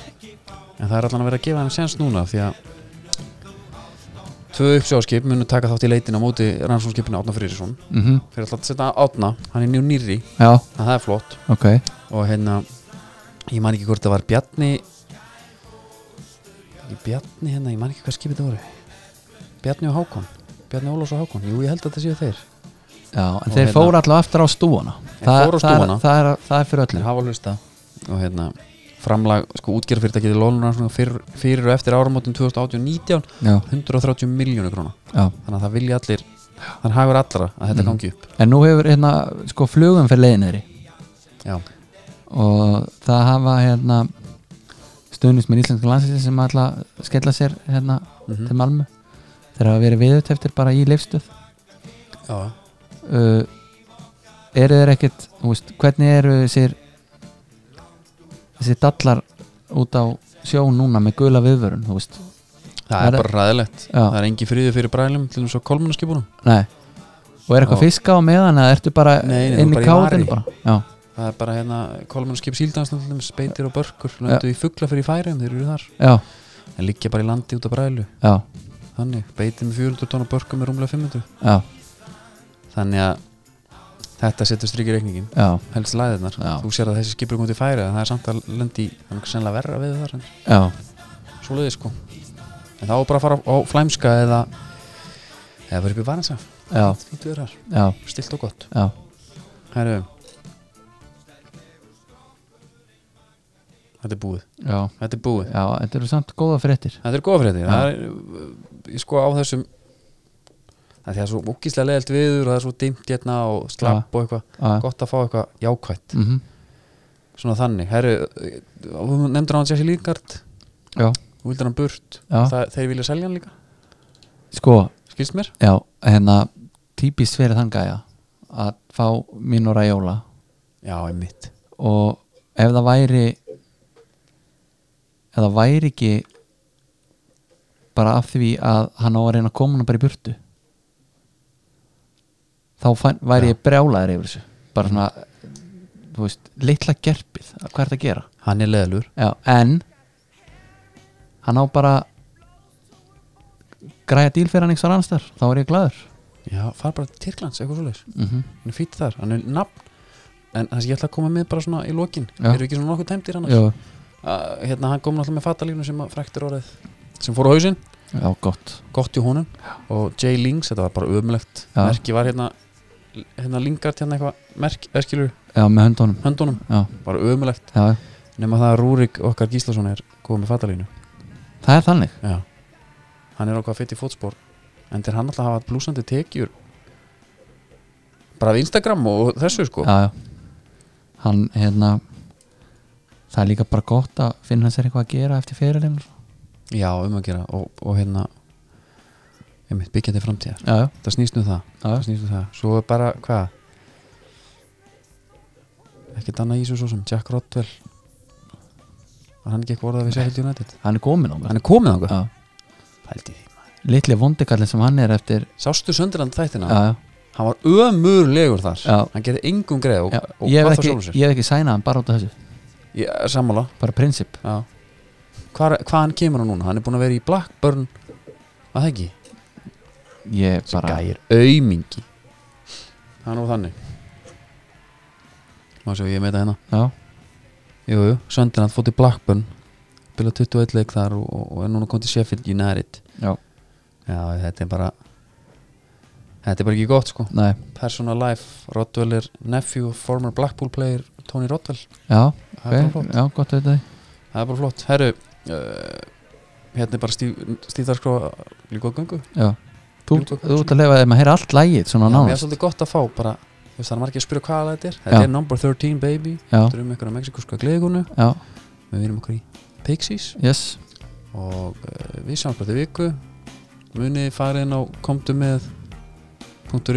A: en það er allan að vera að gefa hann sens núna því að tvö uppsjáskip munu taka þátt í leitin á móti rannsókskipinu Átna Frýrisson
B: mm
A: fyrir alltaf að setja Átna, hann er njú nýri
B: Já,
A: en það er flott
B: ok
A: og hérna ég man ekki hvort það var Bjarni ekki Bjarni hérna, ég man ekki hvað skipið það voru Bjarni og Hákon Bjarni Ólafs og Hákon, jú ég held að þetta séu þeir
B: Já, en
A: Og
B: þeir
A: hérna-
B: fóru alltaf aftur á stúana
A: Þeir fóru á stúfana.
B: það, er, það, er, það er fyrir
A: Þeir
B: öllu
A: hafa hlusta og hérna framlag, sko útgerðfyrirtækið í lónurannsóknum fyrir, fyrir og eftir áramótum 2018-19
B: Já,
A: 130 miljónu króna
B: já
A: þannig að það vilja allir, þannig hagur allra að þetta
B: Mm.
A: gangi upp
B: En nú hefur hérna sko flugum fyrir leiðin þeirri
A: Já,
B: og það hafa hérna stuðnist með íslenska landslýsins sem alltaf skella sér hérna
A: Mhm.
B: til Malmö þeir hafa verið viðut eftir bara í leifstöð
A: já.
B: uh, eru þeir ekkit þú veist, hvernig eru þessir þessir dallar út á sjó núna með gula viðvörun þú veist,
A: það er
B: Það er-
A: bara ræðilegt
B: já,
A: það er engin friði fyrir brælum til þess að kolmunaskipunum
B: nei og er eitthvað
A: Já.
B: fiska á meðan eða ertu bara
A: Nei, nei, þú
B: inn í
A: bara í
B: kátinu
A: vari.
B: bara já,
A: það er bara hérna kolmunaskip síldanslandum speitir og börkur, löndu í fuggla fyrir færum þeir eru þar,
B: já,
A: en liggja bara í landi út af brælu
B: já,
A: þannig, beitir með 400 tónn og börkur með rúmlega 500
B: já,
A: þannig að þetta setur strik í reikningin
B: já,
A: helst læðirnar
B: Já.
A: þú sér að þessi skipur komið til færi en það er samt að lendi í þannig sennilega verra við þar en
B: já
A: svo leiði sko en þá er bara að fara á flæmska eða eða verið upp í varensa
B: já,
A: fínt við þar,
B: já,
A: stilt og gott
B: já
A: Heru. þetta er búið
B: já,
A: þetta er búið,
B: já, þetta eru samt góða fréttir
A: þetta er góð frétti það er, uh, ég sko á þessum það er svo ógíslega leiðalt viður og það er svo dimmt hérna og slapp og eitthvað,
B: Já.
A: gott að fá eitthvað jákvætt
B: mm
A: svona þannig, herru, eh, þú nefndir hann Jesse Lingard,
B: já,
A: þú vildir hann burt
B: Já.
A: það, þeir vilja selja hann líka,
B: sko,
A: skilst mér
B: já, hérna típist verið þann gæja að fá mín og ræjóla
A: já, einmitt,
B: og ef það væri ef það væri ekki bara af því að hann á að reyna að koma hann bara í burtu þá fann, væri ég brjálaður yfir þessu bara svona þú veist, litla gerpið, hvað er þetta að gera
A: hann er leðalur
B: já, en hann á bara græja díl fyrir hann einhver annars þar, þá er ég glæður
A: já, fara bara til Tyrklands, eitthvað svoleiðis
B: mm -hmm.
A: hann er fýtt þar, hann er nafn en það sem ég ætla að koma með bara svona í lokin
B: Já.
A: eru ekki svona nokkuð tæmdir annars
B: já,
A: uh, hérna, hann kom náttúrulega með fatalínu sem að frektir orðið sem fór á hausinn,
B: já, gott
A: gott í honum og Jay Lings, þetta var bara ömulegt
B: Já.
A: merki var hérna hérna Lingard hérna eitthvað merk, erskilur
B: já, með höndunum
A: höndunum,
B: já,
A: bara ömulegt
B: já, já.
A: nema það að Rúrik okkar Gíslason er komið með fatalínu
B: það er þannig
A: Já Hann er okkar fyrt í fótspor En til hann alltaf að hafa blúsandi tekjur Bara af Instagram og og þessu sko
B: já, já. hann hérna það er líka bara gott að finna sér eitthvað að gera eftir fyrirleim
A: já, um að gera og, og hérna einmitt, byggjandi framtíðar,
B: já, já,
A: það snýst um það
B: já,
A: það snýst um það, svo er bara, hvað ekkert annað í þessu svo sem Jack Rodwell var hann ekki eitthvað orðað við Sheffield United
B: hann er gómin á mig
A: hann er komið ánga,
B: já,
A: pældi því
B: litli vondikallin sem hann er eftir
A: sástu Sönderland þættina,
B: já, já,
A: hann var ömurlegur þar
B: Já.
A: hann gerði engum greið og,
B: já,
A: og
B: ég
A: hvað þá
B: hef ekki,
A: sjálfum sér
B: ég hef ekki sænað hann bara út af þessu,
A: ég, sammála,
B: bara prinsip
A: já Hvar, hvaðan kemur hann núna, hann er búin að vera í Blackburn að það ekki
B: ég
A: Þessi
B: bara,
A: gæir aumingi það er nú þannig má sjá ég meita hérna
B: já,
A: jú, jú, Söndinat fótt í Blackburn bila 21 leik þar og, og, og er núna komið til Sheffield United
B: já,
A: já, þetta er bara þetta er bara ekki gott sko
B: nei
A: personal life, Rodwell er nephew of former Blackpool player Tony Rodwell
B: já,
A: það er bara
B: ok,
A: flott
B: já, gott að þetta
A: það er bara flott, herru uh, hérna er bara stíf, stíðarskrá líka á göngu
B: já, þú,
A: Jú, gott.
B: þú ert að leifa þeim að heyra allt lægið
A: Já,
B: svona
A: mér er
B: nánast,
A: svolítið gott að fá bara þú veist, það er margir að spyrja hvað þetta er þetta
B: Já.
A: er number 13 baby
B: já,
A: þetta er um einhverja mexikuska gleðikonu
B: já,
A: við erum okkur í Pixies
B: yes
A: og uh, við sjáum bara til viku munið farið inn á komdu með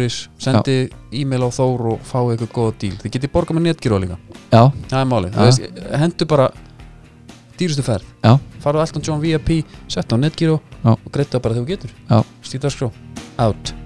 A: .is sendi e-mail á Þór og fáið eitthvað góða díl þið getið borgað með netgíróa líka
B: já,
A: það er málið,
B: Já.
A: þú veist, hendur bara dýrustu ferð
B: Já.
A: farðu á Elton John VIP, sett á netgíró
B: Já.
A: og greita bara þegar þú getur
B: Já.
A: Steve Darskró, out